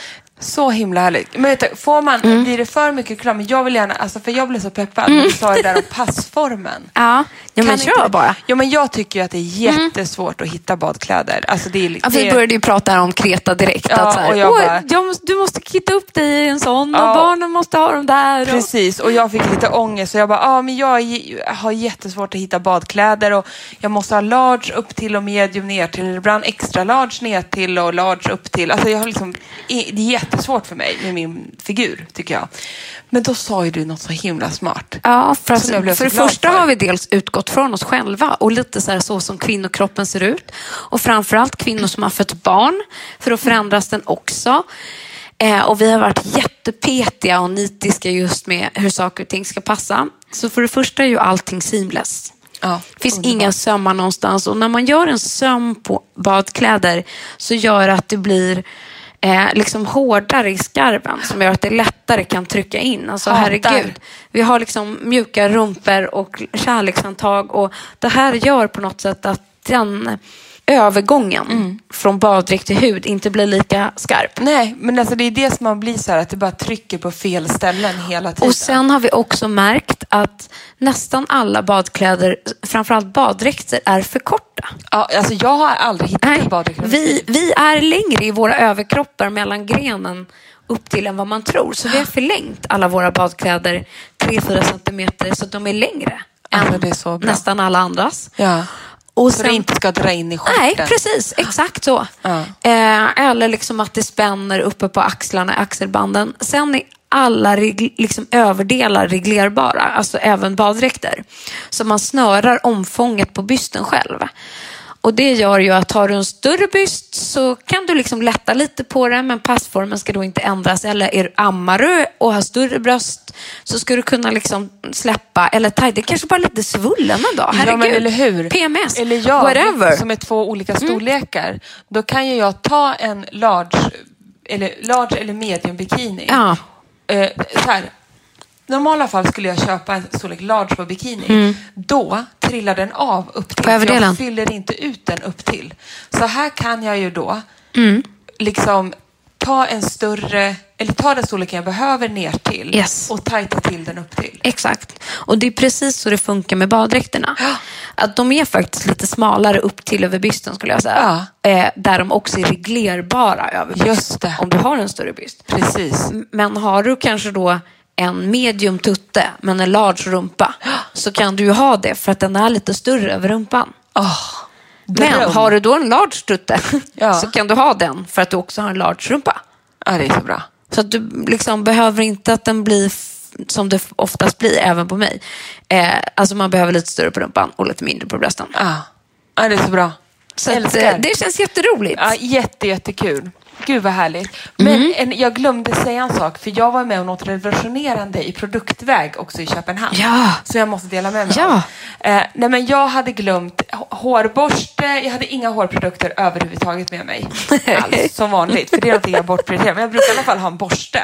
[SPEAKER 3] Så himla härligt. Men vet du, får man,
[SPEAKER 2] Mm.
[SPEAKER 3] blir det för mycket reklam? Jag vill gärna, alltså för jag blev så peppad när du sa det där om passformen.
[SPEAKER 2] Ja, Mm. ja men
[SPEAKER 3] Kan inte
[SPEAKER 2] kör
[SPEAKER 3] det-
[SPEAKER 2] bara. Mm.
[SPEAKER 3] Ja, men jag tycker ju att det är jättesvårt att hitta badkläder. Alltså det är,
[SPEAKER 2] Ja,
[SPEAKER 3] det
[SPEAKER 2] vi
[SPEAKER 3] är,
[SPEAKER 2] började ju prata om Kreta direkt.
[SPEAKER 3] Ja,
[SPEAKER 2] att så här,
[SPEAKER 3] och jag
[SPEAKER 2] "Åh,
[SPEAKER 3] bara-
[SPEAKER 2] jag måste, du måste kitta upp dig i en sån
[SPEAKER 3] Ja.
[SPEAKER 2] och barnen måste ha dem där. Och...
[SPEAKER 3] Precis, och jag fick lite ångest och jag bara, ah, men jag är- har jättesvårt att hitta badkläder och jag måste ha large upp till och medium ner till, eller ibland extra large ner till och large upp till. Alltså jag har liksom, i- det är jättesvårt för mig med min figur, tycker jag. Men då sa ju du något så himla smart.
[SPEAKER 2] Ja, för, att,
[SPEAKER 3] Som jag blev
[SPEAKER 2] för,
[SPEAKER 3] så
[SPEAKER 2] det
[SPEAKER 3] glad
[SPEAKER 2] första
[SPEAKER 3] för.
[SPEAKER 2] har vi dels utgått från oss själva och lite så, här så som kvinnokroppen ser ut. Och framförallt kvinnor som har fött barn, för då förändras den också. Eh, och vi har varit jättepetiga och nitiska just med hur saker och ting ska passa. Så för det första är ju allting seamless.
[SPEAKER 3] Ja,
[SPEAKER 2] Det finns
[SPEAKER 3] underbart.
[SPEAKER 2] inga sömmar någonstans. Och när man gör en söm på badkläder så gör det att det blir eh, liksom hårdare i skarven som gör att det lättare kan trycka in. Alltså
[SPEAKER 3] Hatar.
[SPEAKER 2] herregud. Vi har liksom mjuka rumpor och kärlekshandtag och det här gör på något sätt att den övergången
[SPEAKER 3] Mm.
[SPEAKER 2] från baddräkt till hud inte blir lika skarp.
[SPEAKER 3] Nej, men alltså det är det som man blir så här, att det bara trycker på fel ställen hela tiden.
[SPEAKER 2] Och sen har vi också märkt att nästan alla badkläder, framförallt baddräkter, är för korta.
[SPEAKER 3] ja, alltså jag har aldrig hittat
[SPEAKER 2] Nej,
[SPEAKER 3] en baddräkt.
[SPEAKER 2] vi, vi är längre i våra överkroppar mellan grenen upp till än vad man tror. Så vi har förlängt alla våra badkläder 3-4 centimeter så att de är längre
[SPEAKER 3] Alltså,
[SPEAKER 2] än
[SPEAKER 3] det är så bra.
[SPEAKER 2] nästan alla andras.
[SPEAKER 3] Ja.
[SPEAKER 2] Och
[SPEAKER 3] Så det inte ska dra in i skjorten.
[SPEAKER 2] Nej, precis. Exakt så.
[SPEAKER 3] Ja.
[SPEAKER 2] Eh, eller liksom att det spänner uppe på axlarna, axelbanden. Sen är alla reg- liksom överdelar reglerbara, alltså även baddräkter. Så man snörar omfånget på bysten själv. Och Det gör ju att har du en större byst så kan du liksom lätta lite på den men passformen ska då inte ändras. Eller är du ammar du och har större bröst så ska du kunna liksom släppa. Eller taj, det kanske bara är lite svullen en dag. Herregud.
[SPEAKER 3] Ja, men eller hur?
[SPEAKER 2] PMS.
[SPEAKER 3] Eller jag,
[SPEAKER 2] Whatever. Mm.
[SPEAKER 3] som är två olika storlekar. Då kan ju jag ta en large eller, large eller medium bikini.
[SPEAKER 2] Ja.
[SPEAKER 3] Eh, så här. Normala fall skulle jag köpa en storlek large på bikini. Då trillar den av upp till.
[SPEAKER 2] Mm. På överdelen.
[SPEAKER 3] för Jag fyller inte ut den upp till. Så här kan jag ju då
[SPEAKER 2] Mm.
[SPEAKER 3] liksom ta en större, eller ta den storleken jag behöver ner till
[SPEAKER 2] Yes.
[SPEAKER 3] och tajta till den upp till.
[SPEAKER 2] Exakt. Och det är precis så det funkar med baddräkterna. Att de är faktiskt lite smalare upp till över bysten skulle jag säga. Eh, där de också är reglerbara över bysten.
[SPEAKER 3] Just det.
[SPEAKER 2] Om du har en större byst.
[SPEAKER 3] Precis.
[SPEAKER 2] Men har du kanske då en medium tutte men en large rumpa så kan du ju ha det för att den är lite större över rumpan.
[SPEAKER 3] Oh,
[SPEAKER 2] Men
[SPEAKER 3] dröm.
[SPEAKER 2] har du då en large tutte
[SPEAKER 3] Ja.
[SPEAKER 2] så kan du ha den för att du också har en large rumpa.
[SPEAKER 3] Ja, det är så bra.
[SPEAKER 2] Så att du liksom behöver inte att den blir f- som det f- oftast blir, även på mig. Eh, alltså man behöver lite större på rumpan och lite mindre på brösten.
[SPEAKER 3] Ja, ja det är så bra.
[SPEAKER 2] Så att,
[SPEAKER 3] Älskar.
[SPEAKER 2] eh, det känns jätteroligt.
[SPEAKER 3] Ja, jätte, jättekul. Gud vad härligt. Men
[SPEAKER 2] Mm.
[SPEAKER 3] en, jag glömde säga en sak, för jag var med om något revolutionerande i produktväg också i Köpenhamn.
[SPEAKER 2] Ja.
[SPEAKER 3] Så jag måste dela med mig
[SPEAKER 2] Ja.
[SPEAKER 3] av. eh, nej, men Jag hade glömt h- hårborste, jag hade inga hårprodukter överhuvudtaget med mig. Alls, som vanligt, för det är någonting jag bortprioriterar. Men jag brukar i alla fall ha en borste.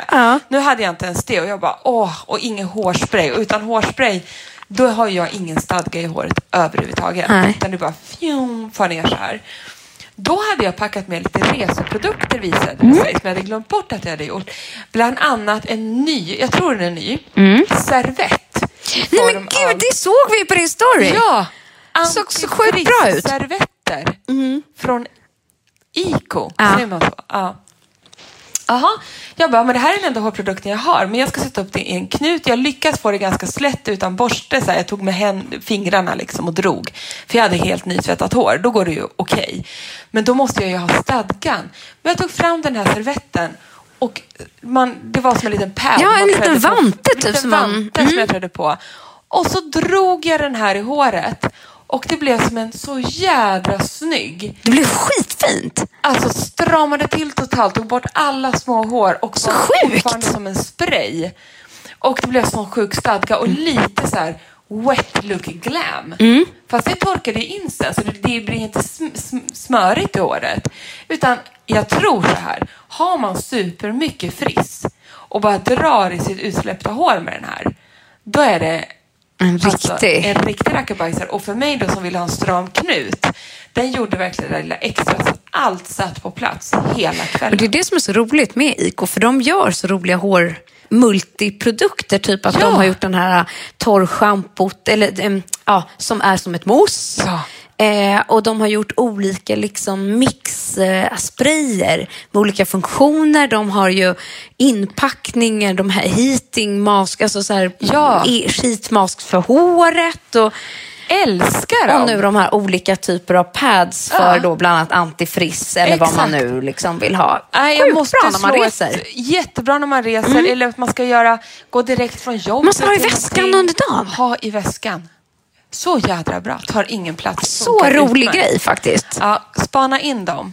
[SPEAKER 3] Nu hade jag inte ens det och jag bara åh, och ingen hårspray. Och utan hårspray, då har jag ingen stadga i håret överhuvudtaget.
[SPEAKER 2] Nej.
[SPEAKER 3] Utan det bara fjum, far ner så här. Då hade jag packat med lite reseprodukter visade
[SPEAKER 2] Mm.
[SPEAKER 3] det sig, som jag hade glömt bort att jag hade gjort. Bland annat en ny, jag tror den är ny, servett.
[SPEAKER 2] Mm. Nej men gud, det såg vi på din story!
[SPEAKER 3] Ja!
[SPEAKER 2] Såg så sjukt bra ut. Mm.
[SPEAKER 3] servetter från Ico.
[SPEAKER 2] Ja.
[SPEAKER 3] Säger man så? Ja. Aha. Jag bara, men det här är den enda hårprodukten jag har, men jag ska sätta upp det i en knut. Jag lyckas få det ganska slätt utan borste. Så här. Jag tog med hän- fingrarna liksom och drog, för jag hade helt nytvättat hår. Då går det ju okej. Men då måste jag ju ha stadgan. Men jag tog fram den här servetten och man, det var som en liten pärl.
[SPEAKER 2] Ja, en
[SPEAKER 3] man
[SPEAKER 2] liten
[SPEAKER 3] trädde på.
[SPEAKER 2] vante typ
[SPEAKER 3] En liten
[SPEAKER 2] som man-
[SPEAKER 3] vante som jag trädde på. Och så drog jag den här i håret och det blev som en så jädra snygg.
[SPEAKER 2] Det blev skitfint!
[SPEAKER 3] Alltså stramade till totalt, tog bort alla små hår och så
[SPEAKER 2] sjukt!
[SPEAKER 3] fortfarande som en spray. Och det blev sån sjuk stadga och lite så här wet look glam.
[SPEAKER 2] Mm.
[SPEAKER 3] Fast det torkade in sen så det, det blir inte sm- sm- smörigt i håret. Utan jag tror så här, har man supermycket friss och bara drar i sitt utsläppta hår med den här, då är det
[SPEAKER 2] En
[SPEAKER 3] Alltså,
[SPEAKER 2] riktig.
[SPEAKER 3] en riktig rackabajsare. Och för mig då som ville ha en stram knut, den gjorde verkligen det där lilla extra så att allt satt på plats hela
[SPEAKER 2] Och det är
[SPEAKER 3] kvällen.
[SPEAKER 2] det som är så roligt med IK, för de gör så roliga hår multiprodukter, typ att
[SPEAKER 3] Ja.
[SPEAKER 2] de har gjort den här torrschampot, eller em, ja, som är som ett mousse.
[SPEAKER 3] Ja.
[SPEAKER 2] Eh, och de har gjort olika liksom mixsprayer eh, sprayer med olika funktioner. De har ju inpackningar, de här heating mask, alltså så här
[SPEAKER 3] Ja.
[SPEAKER 2] e- sheet mask för håret. Och,
[SPEAKER 3] Älskar
[SPEAKER 2] och nu de här olika typer av pads för
[SPEAKER 3] Ja.
[SPEAKER 2] då bland annat antifriss eller vad man
[SPEAKER 3] Exakt.
[SPEAKER 2] nu liksom vill ha.
[SPEAKER 3] Nej, jag
[SPEAKER 2] Sjukt
[SPEAKER 3] måste
[SPEAKER 2] bra när man
[SPEAKER 3] slå ett-
[SPEAKER 2] reser. Mm.
[SPEAKER 3] jättebra när man reser eller att man ska göra, gå direkt från jobbet.
[SPEAKER 2] Man ska ha i
[SPEAKER 3] till
[SPEAKER 2] väskan
[SPEAKER 3] någonting.
[SPEAKER 2] under dagen.
[SPEAKER 3] Ha i väskan. Så jädra bra. Tar ingen plats.
[SPEAKER 2] Så
[SPEAKER 3] Funkar
[SPEAKER 2] rolig
[SPEAKER 3] utmärkt.
[SPEAKER 2] grej faktiskt.
[SPEAKER 3] Ja, spana in dem.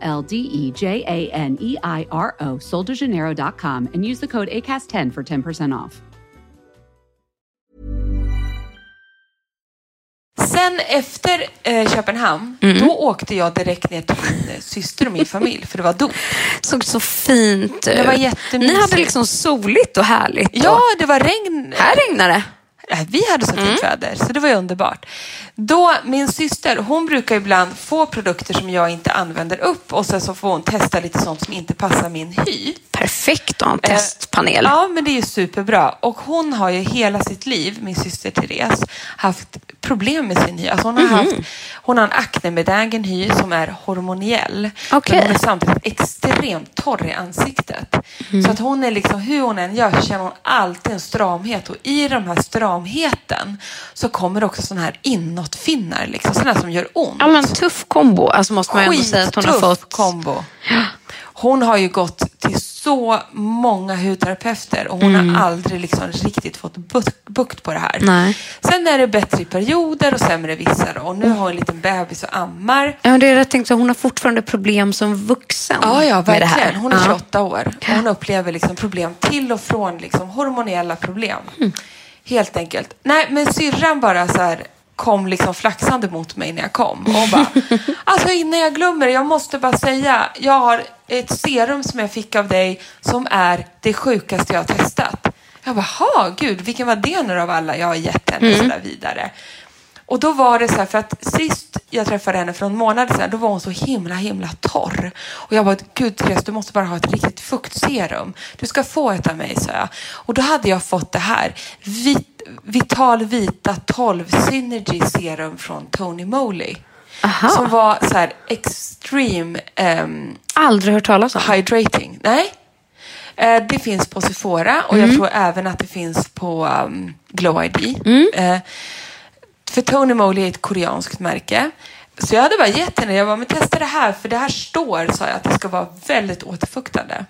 [SPEAKER 5] L D E J A N E I R O, soldejaneiro.com, and use the code ACAST10 for 10% off.
[SPEAKER 3] Sen efter eh, Köpenhamn,
[SPEAKER 2] Mm.
[SPEAKER 3] då åkte jag direkt ner till min eh, syster och min familj, för det var dop.
[SPEAKER 4] såg så fint ut.
[SPEAKER 3] Det var jättemysigt.
[SPEAKER 4] Ni hade liksom soligt och härligt.
[SPEAKER 3] Ja,
[SPEAKER 4] och-
[SPEAKER 3] det var regn. eh,
[SPEAKER 4] Här regnade det.
[SPEAKER 3] Nej, Äh, Vi hade så fint väder, så det var ju underbart. Då, min syster, hon brukar ibland få produkter som jag inte använder upp och sen så får hon testa lite sånt som inte passar min hy.
[SPEAKER 4] Perfekt att ha en testpanel.
[SPEAKER 3] Eh, Ja, men det är ju superbra. Och hon har ju hela sitt liv, min syster Therese, haft problem med sin hy. Alltså hon, har
[SPEAKER 4] Mhm.
[SPEAKER 3] haft, hon har en aknebenägen hy som är hormoniell.
[SPEAKER 4] Okej.
[SPEAKER 3] Men hon är samtidigt extremt torr i ansiktet.
[SPEAKER 4] Mm.
[SPEAKER 3] Så att hon är liksom, hur hon än gör så känner hon alltid en stramhet. Och i den här stramheten så kommer det också sådana här inåtfinnar. Liksom, sådana som gör ont.
[SPEAKER 4] Ja, men tuff kombo. Alltså måste man ju ändå säga att hon har
[SPEAKER 3] Skittuff
[SPEAKER 4] fått...
[SPEAKER 3] kombo. Hon har ju gått till så många hudterapeuter och hon
[SPEAKER 4] Mm.
[SPEAKER 3] har aldrig liksom riktigt fått buk- bukt på det här.
[SPEAKER 4] Nej.
[SPEAKER 3] Sen är det bättre i perioder och sämre vissa då. Och nu har hon en liten bebis och ammar.
[SPEAKER 4] Ja, men det är rätt tänkt. Hon har fortfarande problem som vuxen
[SPEAKER 3] Ja, ja,
[SPEAKER 4] med det
[SPEAKER 3] verkligen.
[SPEAKER 4] här.
[SPEAKER 3] Hon är
[SPEAKER 4] Ja.
[SPEAKER 3] 28 år och hon upplever liksom problem till och från liksom hormonella problem.
[SPEAKER 4] Mm.
[SPEAKER 3] Helt enkelt. Nej, men syrran bara så här kom liksom flaxande mot mig när jag kom. Och hon bara, alltså innan jag glömmer, jag måste bara säga, jag har ett serum som jag fick av dig som är det sjukaste jag har testat. Jag bara, "Ha, gud, vilken var det nu av alla jag har gett henne
[SPEAKER 4] Mm.
[SPEAKER 3] så där vidare? Och då var det så här, för att sist jag träffade henne för någon månad sedan, då var hon så himla, himla torr. Och jag bara, gud Therese, du måste bara ha ett riktigt fuktserum. Du ska få ett av mig, sa jag. Och då hade jag fått det här. Vit, Vital Vita 12 Synergy Serum från Tony Moly. Som var så här extreme ehm,
[SPEAKER 4] Aldrig hört talas om.
[SPEAKER 3] hydrating. Nej. Eh, Det finns på Sephora och
[SPEAKER 4] Mm.
[SPEAKER 3] jag tror även att det finns på um, Glow ID.
[SPEAKER 4] Mm.
[SPEAKER 3] Eh, För Tony Moly är ett koreanskt märke. Så jag hade bara gett henne, jag bara, men testa det här, för det här står, sa jag, att det ska vara väldigt återfuktande.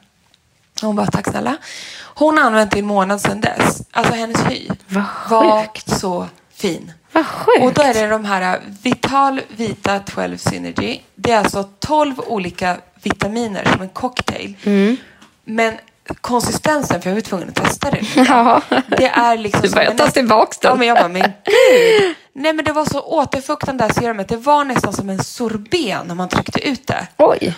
[SPEAKER 3] Hon bara, tack snälla. Hon har använt det i en månad sedan dess. Alltså hennes hy
[SPEAKER 4] Vad
[SPEAKER 3] var
[SPEAKER 4] sjukt.
[SPEAKER 3] så fin.
[SPEAKER 4] Vad sjukt.
[SPEAKER 3] Och då är det de här äh, Vital Vita 12 Synergy. Det är alltså 12 olika vitaminer som en cocktail.
[SPEAKER 4] Mm.
[SPEAKER 3] Men konsistensen, för jag var tvungen att testa det.
[SPEAKER 4] Ja.
[SPEAKER 3] Det är liksom...
[SPEAKER 4] Du börjar
[SPEAKER 3] som en-
[SPEAKER 4] ta tillbaks den.
[SPEAKER 3] Ja, men jag bara, men gud. Nej, men det var så återfuktande det här serumet. Det var nästan som en sorbet när man tryckte ut det.
[SPEAKER 4] Oj.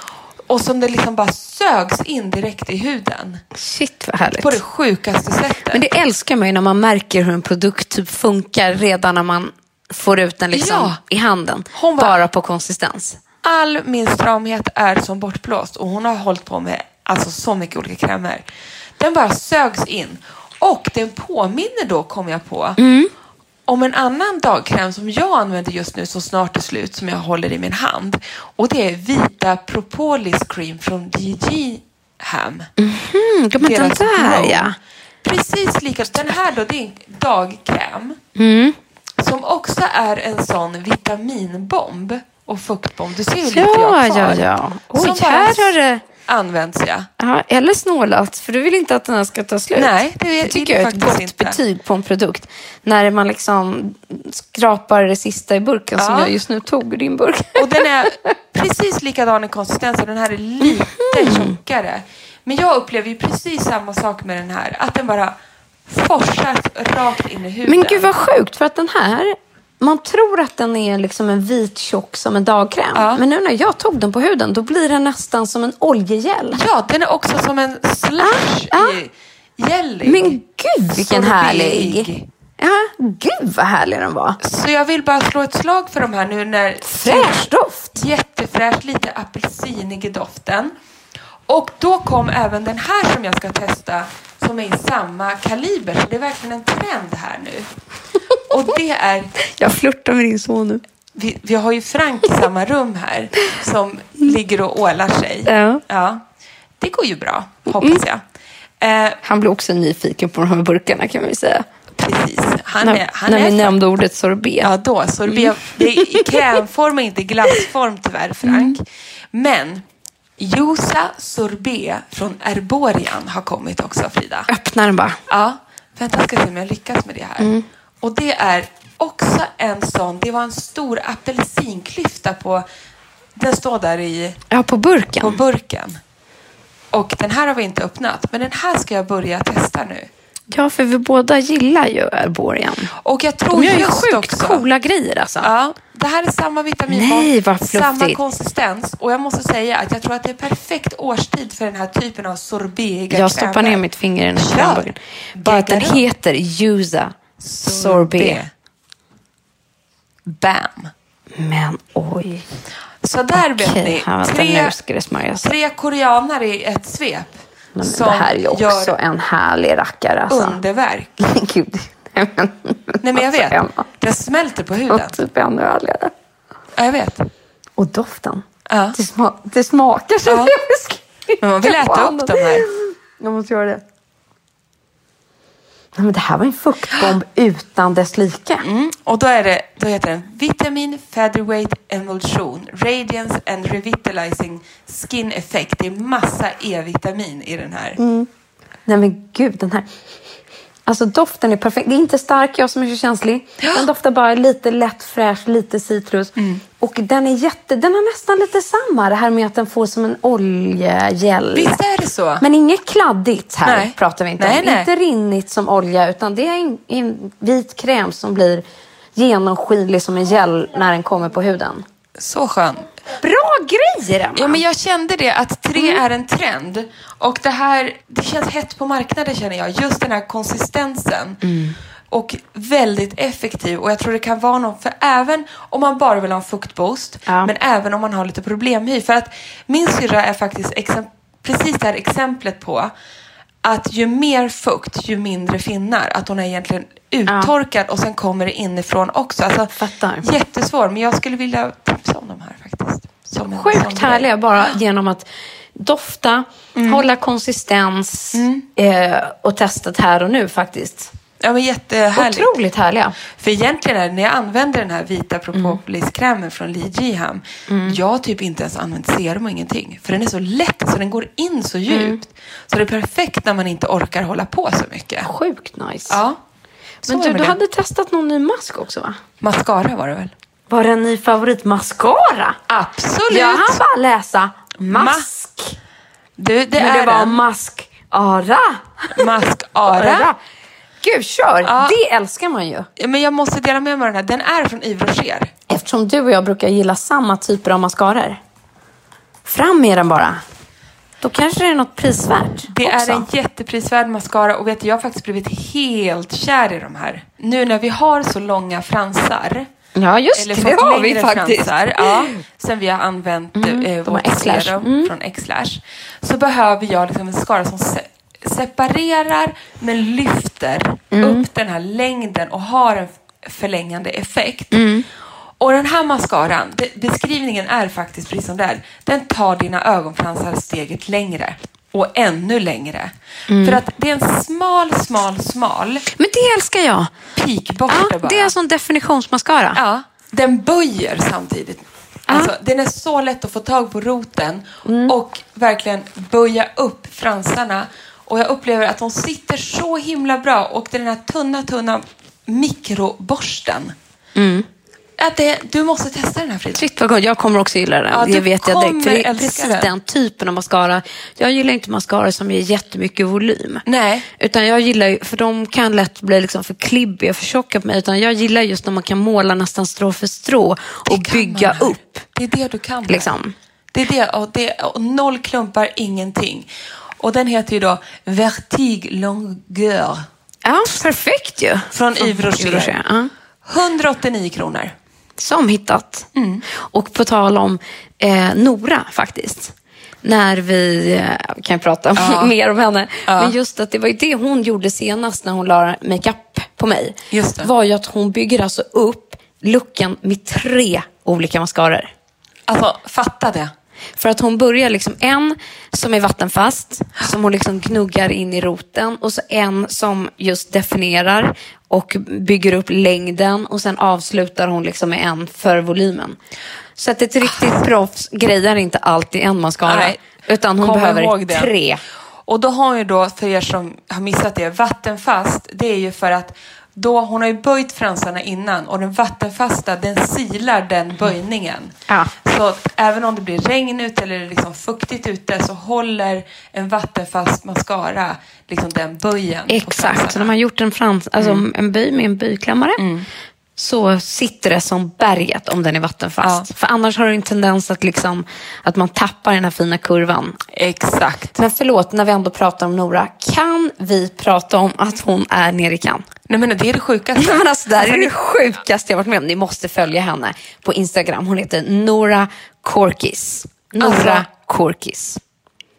[SPEAKER 3] Och som det liksom bara sögs in direkt i huden.
[SPEAKER 4] Shit, vad härligt.
[SPEAKER 3] På det sjukaste sättet.
[SPEAKER 4] Men det älskar man ju när man märker hur en produkt typ funkar redan när man får ut den liksom
[SPEAKER 3] Ja.
[SPEAKER 4] i handen.
[SPEAKER 3] Hon bara-
[SPEAKER 4] bara på konsistens.
[SPEAKER 3] All min stramhet är som bortblåst och hon har hållit på med alltså, så mycket olika krämer. Den bara sögs in. Och den påminner då, kom jag på, om en annan dagkräm som jag använder just nu som snart är slut, som jag håller i min hand. Och det är Vita Propolis Cream från DG Ham.
[SPEAKER 4] Mm, ja, men den
[SPEAKER 3] Deras
[SPEAKER 4] där
[SPEAKER 3] glow.
[SPEAKER 4] ja.
[SPEAKER 3] Precis lika. Den här då, det är en dagkräm.
[SPEAKER 4] Mm.
[SPEAKER 3] Som också är en sån vitaminbomb och fuktbomb. Du ser ju lite jag
[SPEAKER 4] Ja,
[SPEAKER 3] har kvar.
[SPEAKER 4] ja, ja. Oj,
[SPEAKER 3] Som bara
[SPEAKER 4] här har det-
[SPEAKER 3] Används jag.
[SPEAKER 4] ja. Eller snålat, för du vill inte att den här ska ta slut.
[SPEAKER 3] Nej, det vill-
[SPEAKER 4] tycker jag är ett
[SPEAKER 3] faktiskt
[SPEAKER 4] gott
[SPEAKER 3] inte.
[SPEAKER 4] betyg på en produkt. När man liksom skrapar det sista i burken som
[SPEAKER 3] Ja.
[SPEAKER 4] jag just nu tog ur din burk.
[SPEAKER 3] Och den är precis likadan i konsistensen. Den här är lite
[SPEAKER 4] Mhm.
[SPEAKER 3] tjockare. Men jag upplever ju precis samma sak med den här. Att den bara forsar rakt in i huden.
[SPEAKER 4] Men gud vad sjukt, för att den här, man tror att den är liksom en vit tjock som en dagkräm.
[SPEAKER 3] Ja.
[SPEAKER 4] Men nu när jag tog den på huden, då blir den nästan som en oljegel.
[SPEAKER 3] Ja, den är också som en slush
[SPEAKER 4] Ah, ah.
[SPEAKER 3] i jelly.
[SPEAKER 4] Men gud vilken
[SPEAKER 3] Sorbig.
[SPEAKER 4] härlig.
[SPEAKER 6] Ja, gud vad härlig den var.
[SPEAKER 3] Så jag vill bara slå ett slag för de här nu när...
[SPEAKER 6] Fräsch doft.
[SPEAKER 3] Jättefräsch, lite apelsinig i doften. Och då kom även den här som jag ska testa som är i samma kaliber. Så det är verkligen en trend här nu. Och det är
[SPEAKER 2] Jag flörtar med din son nu.
[SPEAKER 3] vi, vi har ju Frank i samma rum här som ligger och ålar sig.
[SPEAKER 2] Ja.
[SPEAKER 3] Det går ju bra,
[SPEAKER 4] Mm.
[SPEAKER 3] hoppas jag. Eh,
[SPEAKER 2] Han blev också nyfiken på de här burkarna kan vi säga.
[SPEAKER 3] precis. Han
[SPEAKER 2] när
[SPEAKER 3] är, han
[SPEAKER 2] när
[SPEAKER 3] är
[SPEAKER 2] vi nämnde Mm. ordet sorbet.
[SPEAKER 3] Ja, då. Så det, blir, det är i krämform och inte i glassform tyvärr, Frank.
[SPEAKER 2] Mm.
[SPEAKER 3] Men Josa Sorbet från Erborian har kommit också, Frida.
[SPEAKER 2] Öppna den bara.
[SPEAKER 3] Ja, vänta jag ska se om jag lyckas med det här.
[SPEAKER 2] Mm.
[SPEAKER 3] Och det är också en sån, det var en stor apelsinklyfta på, den står där i
[SPEAKER 2] Ja, på burken.
[SPEAKER 3] på burken. Och den här har vi inte öppnat, men den här ska jag börja testa nu.
[SPEAKER 2] Ja, för vi båda gillar ju Erborian.
[SPEAKER 3] Och Oh, jag tror
[SPEAKER 2] De gör ju
[SPEAKER 3] just
[SPEAKER 2] sjukt
[SPEAKER 3] också...
[SPEAKER 2] coola grejer alltså.
[SPEAKER 3] Ja, det här är samma
[SPEAKER 2] Nej,
[SPEAKER 3] vitaminbomb,
[SPEAKER 2] vad
[SPEAKER 3] samma
[SPEAKER 2] fluffigt.
[SPEAKER 3] konsistens. Och jag måste säga att jag tror att det är perfekt årstid för den här typen av sorbetiga
[SPEAKER 2] Jag stoppar
[SPEAKER 3] krämer.
[SPEAKER 2] ner mitt finger i den här
[SPEAKER 3] Kör.
[SPEAKER 2] krämburken. Bara att den
[SPEAKER 3] Gegga runt.
[SPEAKER 2] heter Yuza Sorbet.
[SPEAKER 3] Bam!
[SPEAKER 2] Men oj.
[SPEAKER 3] Så där vet
[SPEAKER 2] Okej,
[SPEAKER 3] ni.
[SPEAKER 2] här, vänta,
[SPEAKER 3] tre,
[SPEAKER 2] nu ska det smörjas.
[SPEAKER 3] tre koreaner i ett svep.
[SPEAKER 2] Men det här är ju också en härlig rackare alltså.
[SPEAKER 3] underverk.
[SPEAKER 2] Gud. Nej men,
[SPEAKER 3] Nej men jag
[SPEAKER 2] alltså,
[SPEAKER 3] vet.
[SPEAKER 2] Emma.
[SPEAKER 3] Det smälter på huden.
[SPEAKER 2] Och typ ännu härligare.
[SPEAKER 3] Ja, jag vet.
[SPEAKER 2] Och doften.
[SPEAKER 3] Ja.
[SPEAKER 2] Det, sma- det smakar som
[SPEAKER 3] Ja.
[SPEAKER 2] jag beskrev.
[SPEAKER 3] Men man vill äta upp de här.
[SPEAKER 2] Jag måste göra det. Nej, men det här var en fuktbomb utan dess like.
[SPEAKER 3] Mm. Och då, är det, då heter den Vitamin Featherweight Emulsion Radiance and Revitalizing Skin Effect. Det är massa E-vitamin i den här.
[SPEAKER 2] Nej men gud, den här... Alltså doften är perfekt. Det är inte stark, jag som är så känslig. Den doftar bara lite lätt fräsch, lite citrus.
[SPEAKER 3] Mm.
[SPEAKER 2] Och den är jätte... Den har nästan lite samma, det här med att den får som en oljegel.
[SPEAKER 3] Visst är det så?
[SPEAKER 2] Men inget kladdigt här
[SPEAKER 3] Nej.
[SPEAKER 2] pratar vi inte
[SPEAKER 3] Nej,
[SPEAKER 2] om.
[SPEAKER 3] nej.
[SPEAKER 2] Inte rinnigt som olja, utan det är en, en vit kräm som blir genomskinlig som en gel när den kommer på huden.
[SPEAKER 3] Så skön.
[SPEAKER 2] Bra grejer, Emma!
[SPEAKER 3] Ja, men jag kände det att tre
[SPEAKER 2] Mm.
[SPEAKER 3] är en trend. Och det här, det känns hett på marknaden känner jag. Just den här konsistensen.
[SPEAKER 2] Mm.
[SPEAKER 3] Och väldigt effektiv. Och jag tror det kan vara någon, för även om man bara vill ha en fuktboost,
[SPEAKER 2] Ja.
[SPEAKER 3] men även om man har lite problemhy. För att min syrra är faktiskt exem- precis det här exemplet på att ju mer fukt, ju mindre finnar. Att hon är egentligen uttorkad och sen kommer det inifrån också. Alltså,
[SPEAKER 2] Fattar.
[SPEAKER 3] Jättesvår, men jag skulle vilja tipsa om de här faktiskt. Som en sån
[SPEAKER 2] Sjukt
[SPEAKER 3] grej.
[SPEAKER 2] härliga bara genom att dofta, hålla konsistens eh, och testat här och nu faktiskt.
[SPEAKER 3] Ja, men jättehärligt.
[SPEAKER 2] Otroligt härliga.
[SPEAKER 3] För egentligen är det, när jag använder den här vita
[SPEAKER 2] Mm.
[SPEAKER 3] propopoliskrämen från Lee Jiham, jag har typ inte ens använt serum och ingenting. För den är så lätt, så den går in
[SPEAKER 2] Mm.
[SPEAKER 3] så djupt. Så det är perfekt när man inte orkar hålla på så mycket.
[SPEAKER 2] Sjukt nice.
[SPEAKER 3] Ja. Så
[SPEAKER 2] Men
[SPEAKER 3] är
[SPEAKER 2] du,
[SPEAKER 3] det.
[SPEAKER 2] du hade testat någon ny mask också va?
[SPEAKER 3] Mascara var det väl?
[SPEAKER 2] Var det en ny favoritmascara?
[SPEAKER 3] Absolut!
[SPEAKER 2] Jag hann bara läsa mask.
[SPEAKER 3] Du, det
[SPEAKER 2] Men
[SPEAKER 3] är
[SPEAKER 2] det var
[SPEAKER 3] en
[SPEAKER 2] maskara.
[SPEAKER 3] maskara.
[SPEAKER 2] Gud, kör!
[SPEAKER 3] Ja.
[SPEAKER 2] Det älskar man ju.
[SPEAKER 3] Ja, Men jag måste dela med mig av den här. Den är från Yves Rocher.
[SPEAKER 2] Eftersom du och jag brukar gilla samma typer av mascaror. Fram med den bara. Då kanske det är något prisvärt
[SPEAKER 3] Det
[SPEAKER 2] också.
[SPEAKER 3] är en jätteprisvärd mascara och vet du, jag har faktiskt blivit helt kär i de här. Nu när vi har så långa fransar.
[SPEAKER 2] Ja, just
[SPEAKER 3] eller
[SPEAKER 2] det,
[SPEAKER 3] fått
[SPEAKER 2] det har vi
[SPEAKER 3] längre
[SPEAKER 2] faktiskt.
[SPEAKER 3] fransar, ja, sen vi har använt eh,
[SPEAKER 2] Mm, de
[SPEAKER 3] vårt
[SPEAKER 2] har X-lash. Mm.
[SPEAKER 3] serum från X-lash. Så behöver jag liksom en mascara som se- separerar men lyfter
[SPEAKER 2] Mm.
[SPEAKER 3] upp den här längden och har en f- förlängande effekt.
[SPEAKER 2] Mm.
[SPEAKER 3] Och den här mascaran, det, beskrivningen är faktiskt precis som det är. Den tar dina ögonfransar steget längre. Och ännu längre. För att det är en smal, smal, smal
[SPEAKER 2] Mm. Men det älskar jag.
[SPEAKER 3] pikborste
[SPEAKER 2] Ja,
[SPEAKER 3] bara.
[SPEAKER 2] det är en sån definitionsmascara.
[SPEAKER 3] Ja, den böjer samtidigt. Alltså, den är så lätt att få tag på roten och verkligen böja upp fransarna. Och jag upplever att de sitter så himla bra och det är den här tunna, tunna mikroborsten. Mm. Att det, du måste testa den här Frida.
[SPEAKER 2] Shit vad gott. Jag kommer också gilla den.
[SPEAKER 3] Ja,
[SPEAKER 2] det
[SPEAKER 3] du
[SPEAKER 2] vet jag direkt. För
[SPEAKER 3] kommer
[SPEAKER 2] det är
[SPEAKER 3] älska
[SPEAKER 2] precis
[SPEAKER 3] den.
[SPEAKER 2] den. typen av mascara. Jag gillar inte mascara som ger jättemycket volym.
[SPEAKER 3] Nej.
[SPEAKER 2] Utan jag gillar ju, för de kan lätt bli liksom för klibbiga, för tjocka på mig. Utan jag gillar just när man kan måla nästan strå för strå och
[SPEAKER 3] Det kan
[SPEAKER 2] bygga
[SPEAKER 3] man här.
[SPEAKER 2] upp.
[SPEAKER 3] Det är det du kan. här.
[SPEAKER 2] Liksom.
[SPEAKER 3] Det är det och, det och noll klumpar, ingenting. Och den heter ju då Vertig Longueur
[SPEAKER 2] Ja, perfekt ju.
[SPEAKER 3] Från Yves Rocher.
[SPEAKER 2] Ja.
[SPEAKER 3] 189 kronor.
[SPEAKER 2] Som hittat.
[SPEAKER 3] Mm.
[SPEAKER 2] Och på tal om eh, Nora faktiskt. När vi, eh, kan jag prata mer om henne, men just att det var ju det hon gjorde senast när hon la makeup på mig.
[SPEAKER 3] Just det.
[SPEAKER 2] Var ju att hon bygger alltså upp looken med tre olika mascaror.
[SPEAKER 3] Alltså, fatta det.
[SPEAKER 2] För att hon börjar liksom en som är vattenfast, som hon liksom gnuggar in i roten och så en som just definierar och bygger upp längden och sen avslutar hon liksom med en för volymen. Så att ett riktigt proffs grejar inte alltid en mascara,
[SPEAKER 3] Nej.
[SPEAKER 2] utan hon
[SPEAKER 3] Kom
[SPEAKER 2] behöver
[SPEAKER 3] ihåg det.
[SPEAKER 2] tre.
[SPEAKER 3] Och då har hon ju då, för er som har missat det, vattenfast. Det är ju för att då, hon har ju böjt fransarna innan och den vattenfasta den silar den böjningen.
[SPEAKER 2] Mm. Ja.
[SPEAKER 3] Så att även om det blir regn ute eller liksom fuktigt ute så håller en vattenfast mascara liksom den böjen. på Mm. fransarna.
[SPEAKER 2] Exakt, så när man gjort en, frans, alltså en böj med en böjklammare så sitter det som berget om den är vattenfast. För annars har du en tendens att, liksom, att man tappar den här fina kurvan.
[SPEAKER 3] Exakt.
[SPEAKER 2] Men förlåt, när vi ändå pratar om Nora, kan vi prata om att hon är nere i Cannes?
[SPEAKER 3] Nej men det är det sjukaste.
[SPEAKER 2] Nej, men alltså, det här är det sjukaste jag varit med om. Ni måste följa henne på Instagram. Hon heter Nora Korkis. Nora
[SPEAKER 3] Alltså-
[SPEAKER 2] Korkis.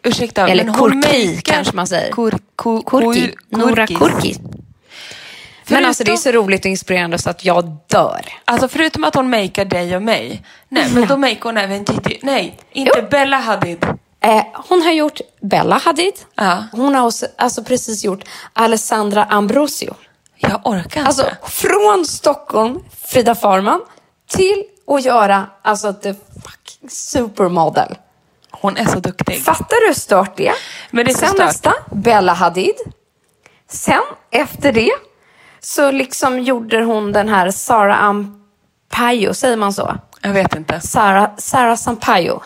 [SPEAKER 3] Ursäkta,
[SPEAKER 2] Eller
[SPEAKER 3] men hon
[SPEAKER 2] korki
[SPEAKER 3] makear-
[SPEAKER 2] kanske man säger.
[SPEAKER 3] Kor, ko,
[SPEAKER 2] Korki.
[SPEAKER 3] kor-
[SPEAKER 2] Nora
[SPEAKER 3] korkis.
[SPEAKER 2] Korki. Men
[SPEAKER 3] Förutom-
[SPEAKER 2] alltså det är så roligt och inspirerande så att jag dör.
[SPEAKER 3] Alltså förutom att hon makear dig och mig. Nej, men då makear hon även Gigi. Nej, inte
[SPEAKER 2] Jo.
[SPEAKER 3] Bella Hadid.
[SPEAKER 2] Eh, hon har gjort Bella Hadid.
[SPEAKER 3] Ja.
[SPEAKER 2] Hon har också, alltså precis gjort Alessandra Ambrosio.
[SPEAKER 3] Jag orkar inte.
[SPEAKER 2] Alltså från Stockholm, Frida Farman, till att göra alltså the fucking supermodel.
[SPEAKER 3] hon är så duktig.
[SPEAKER 2] Fattar du hur stört det är?
[SPEAKER 3] Men det är så
[SPEAKER 2] Sen
[SPEAKER 3] stört.
[SPEAKER 2] nästa, Bella Hadid. Sen efter det så liksom gjorde hon den här Sara Ampayo, säger man så?
[SPEAKER 3] Jag vet inte.
[SPEAKER 2] Sara, Sara Sampaio.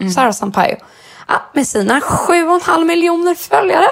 [SPEAKER 3] Mm.
[SPEAKER 2] Sara Sampaio. Ja, med sina 7,5 miljoner följare.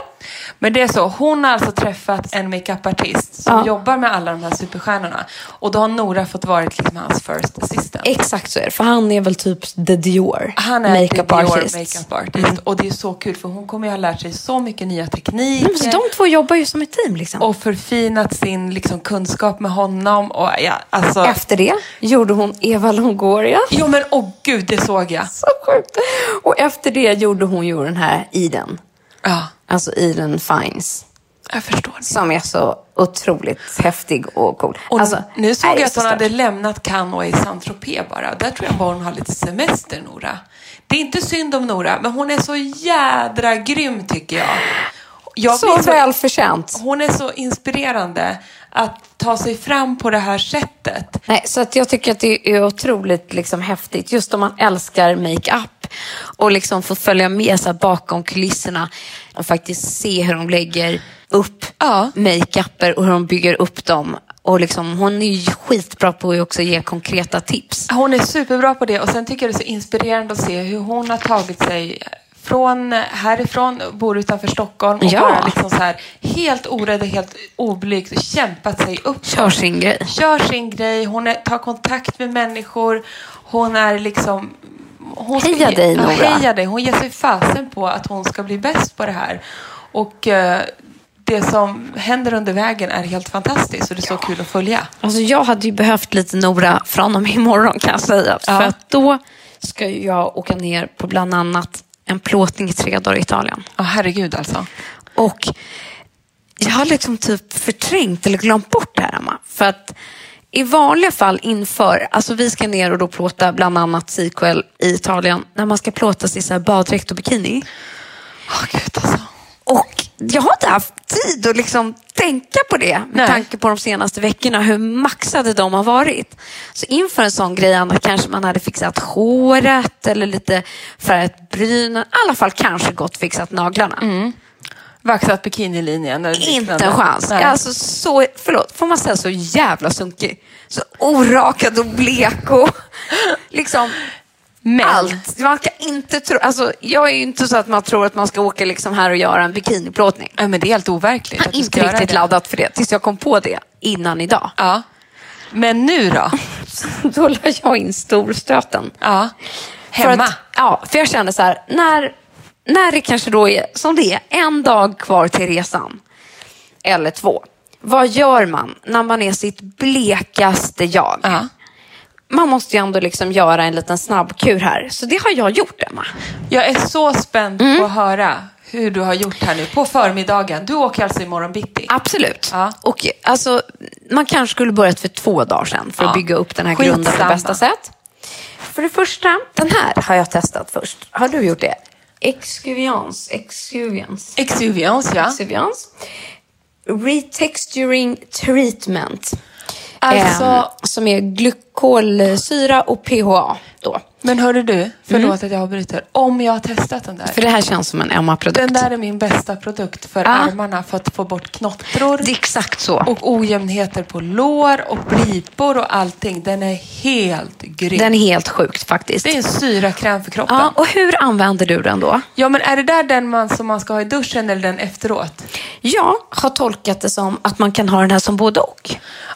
[SPEAKER 3] Men det är så, hon har alltså träffat en makeupartist som
[SPEAKER 2] Ja.
[SPEAKER 3] jobbar med alla de här superstjärnorna. Och då har Nora fått vara liksom hans first assistant.
[SPEAKER 2] Exakt så är det, för han är väl typ the Dior.
[SPEAKER 3] han är
[SPEAKER 2] makeup
[SPEAKER 3] Dior
[SPEAKER 2] artist.
[SPEAKER 3] makeup artist. Och det är så kul för hon kommer ju ha lärt sig så mycket nya tekniker.
[SPEAKER 2] Mm. Nej, men så de två jobbar ju som ett team liksom.
[SPEAKER 3] och förfinat sin liksom, kunskap med honom. Och, ja, alltså...
[SPEAKER 2] Efter det gjorde hon Eva Longoria.
[SPEAKER 3] Jo men åh gud, det såg jag.
[SPEAKER 2] Så sjukt. Och efter det gjorde hon ju den här Iden.
[SPEAKER 3] Ja,
[SPEAKER 2] Alltså Iden Fines.
[SPEAKER 3] jag förstår.
[SPEAKER 2] Som är så otroligt häftig och cool.
[SPEAKER 3] Och
[SPEAKER 2] alltså,
[SPEAKER 3] nu såg
[SPEAKER 2] nej,
[SPEAKER 3] jag
[SPEAKER 2] är
[SPEAKER 3] att
[SPEAKER 2] så
[SPEAKER 3] hon hade
[SPEAKER 2] stört.
[SPEAKER 3] lämnat Cannes och är i Saint-Tropez bara. Där tror jag bara hon har lite semester, Nora. Det är inte synd om Nora, men hon är så jädra grym tycker jag. jag
[SPEAKER 2] Så
[SPEAKER 3] blir
[SPEAKER 2] välförtjänt.
[SPEAKER 3] Hon är så inspirerande att ta sig fram på det här sättet.
[SPEAKER 2] Nej, så att jag tycker att det är otroligt liksom, häftigt. Just om man älskar makeup och liksom får följa med så här, bakom kulisserna och faktiskt se hur de lägger upp
[SPEAKER 3] Ja.
[SPEAKER 2] makeuper och hur de bygger upp dem. Och liksom, hon är ju skitbra på att också ge konkreta tips.
[SPEAKER 3] Hon är superbra på det och sen tycker jag det är så inspirerande att se hur hon har tagit sig från härifrån, bor utanför Stockholm och
[SPEAKER 2] Ja.
[SPEAKER 3] bara liksom så här helt orädd och helt oblygt kämpat sig upp.
[SPEAKER 2] Kör sin grej.
[SPEAKER 3] Kör sin grej, hon är, tar kontakt med människor, hon är liksom hon
[SPEAKER 2] Heja dig,
[SPEAKER 3] ja,
[SPEAKER 2] Nora.
[SPEAKER 3] Heja dig. Hon ger sig fasen på att hon ska bli bäst på det här. Och eh, det som händer under vägen är helt fantastiskt och det är så kul att följa.
[SPEAKER 2] Alltså jag hade ju behövt lite Nora från och med imorgon kan jag säga. För att då ska ju jag åka ner på bland annat en plåtning i tre dagar i Italien.
[SPEAKER 3] Ja, herregud alltså.
[SPEAKER 2] Och jag har liksom typ förträngt eller glömt bort det här Emma. För att i vanliga fall inför, alltså vi ska ner och då plåta bland annat sequel i Italien, när man ska plåtas i så här baddräkt och bikini.
[SPEAKER 3] Åh gud alltså.
[SPEAKER 2] Och jag har inte haft tid att liksom tänka på det med
[SPEAKER 3] Nej.
[SPEAKER 2] tanke på de senaste veckorna, hur maxade de har varit. Så inför en sån grej Anna, kanske man hade fixat håret eller lite färgat brynen. I alla fall kanske gått fixat naglarna.
[SPEAKER 3] Vaxat bikinilinjen eller
[SPEAKER 2] Inte
[SPEAKER 3] liknande.
[SPEAKER 2] en chans. Jag
[SPEAKER 3] Nej.
[SPEAKER 2] är Alltså så, förlåt, får man säga så jävla sunkig? Så orakad och blek och liksom
[SPEAKER 3] Men
[SPEAKER 2] allt. Man kan inte tro, alltså, jag är ju inte så att man tror att man ska åka liksom här och göra en bikiniplåtning.
[SPEAKER 3] Nej, men det är helt overkligt att du ska
[SPEAKER 2] Inte
[SPEAKER 3] Ah, göra
[SPEAKER 2] riktigt
[SPEAKER 3] det.
[SPEAKER 2] laddat för det tills jag kom på det innan idag.
[SPEAKER 3] Ja. Men nu då?
[SPEAKER 2] Då la jag in storstöten.
[SPEAKER 3] Ja.
[SPEAKER 2] För
[SPEAKER 3] Hemma?
[SPEAKER 2] att, ja, för jag kände så här, när, när det kanske då är, som det är, en dag kvar till resan, eller två, Vad gör man när man är sitt blekaste jag?
[SPEAKER 3] Ja.
[SPEAKER 2] Man måste ju ändå liksom göra en liten snabbkur här. Så det har jag gjort, Emma.
[SPEAKER 3] Jag är så spänd
[SPEAKER 2] Mm.
[SPEAKER 3] på att höra hur du har gjort här nu på förmiddagen. Du åker alltså imorgon bitti?
[SPEAKER 2] Ah, Absolut.
[SPEAKER 3] Ja.
[SPEAKER 2] Och, alltså, man kanske skulle börjat för två dagar sedan för att
[SPEAKER 3] Ja.
[SPEAKER 2] bygga upp den här
[SPEAKER 3] Skitsamma.
[SPEAKER 2] grunden på bästa sätt. För det första, den här har jag testat först. Har du gjort det? Excuvians, excuvians,
[SPEAKER 3] Exuvians, ja.
[SPEAKER 2] excuvians. Retexturing treatment.
[SPEAKER 3] Alltså-
[SPEAKER 2] Ehm, som är glykolsyra och PHA. Då.
[SPEAKER 3] Men hörru du, förlåt att jag avbryter. Om jag har testat den där.
[SPEAKER 2] Mm. För det här känns som en Emma-produkt.
[SPEAKER 3] Den där är min bästa produkt för
[SPEAKER 2] Ja.
[SPEAKER 3] armarna för att få bort knottror.
[SPEAKER 2] Det är exakt så.
[SPEAKER 3] Och ojämnheter på lår och ripor och allting. Den är helt grym.
[SPEAKER 2] Den Ah. är helt sjukt faktiskt.
[SPEAKER 3] Det är en syrakräm för kroppen.
[SPEAKER 2] Ja,
[SPEAKER 3] Ja.
[SPEAKER 2] och hur använder du den då?
[SPEAKER 3] men är det där den man som man ska ha i duschen eller den efteråt?
[SPEAKER 2] Jag har tolkat det som att man kan ha den här som både och.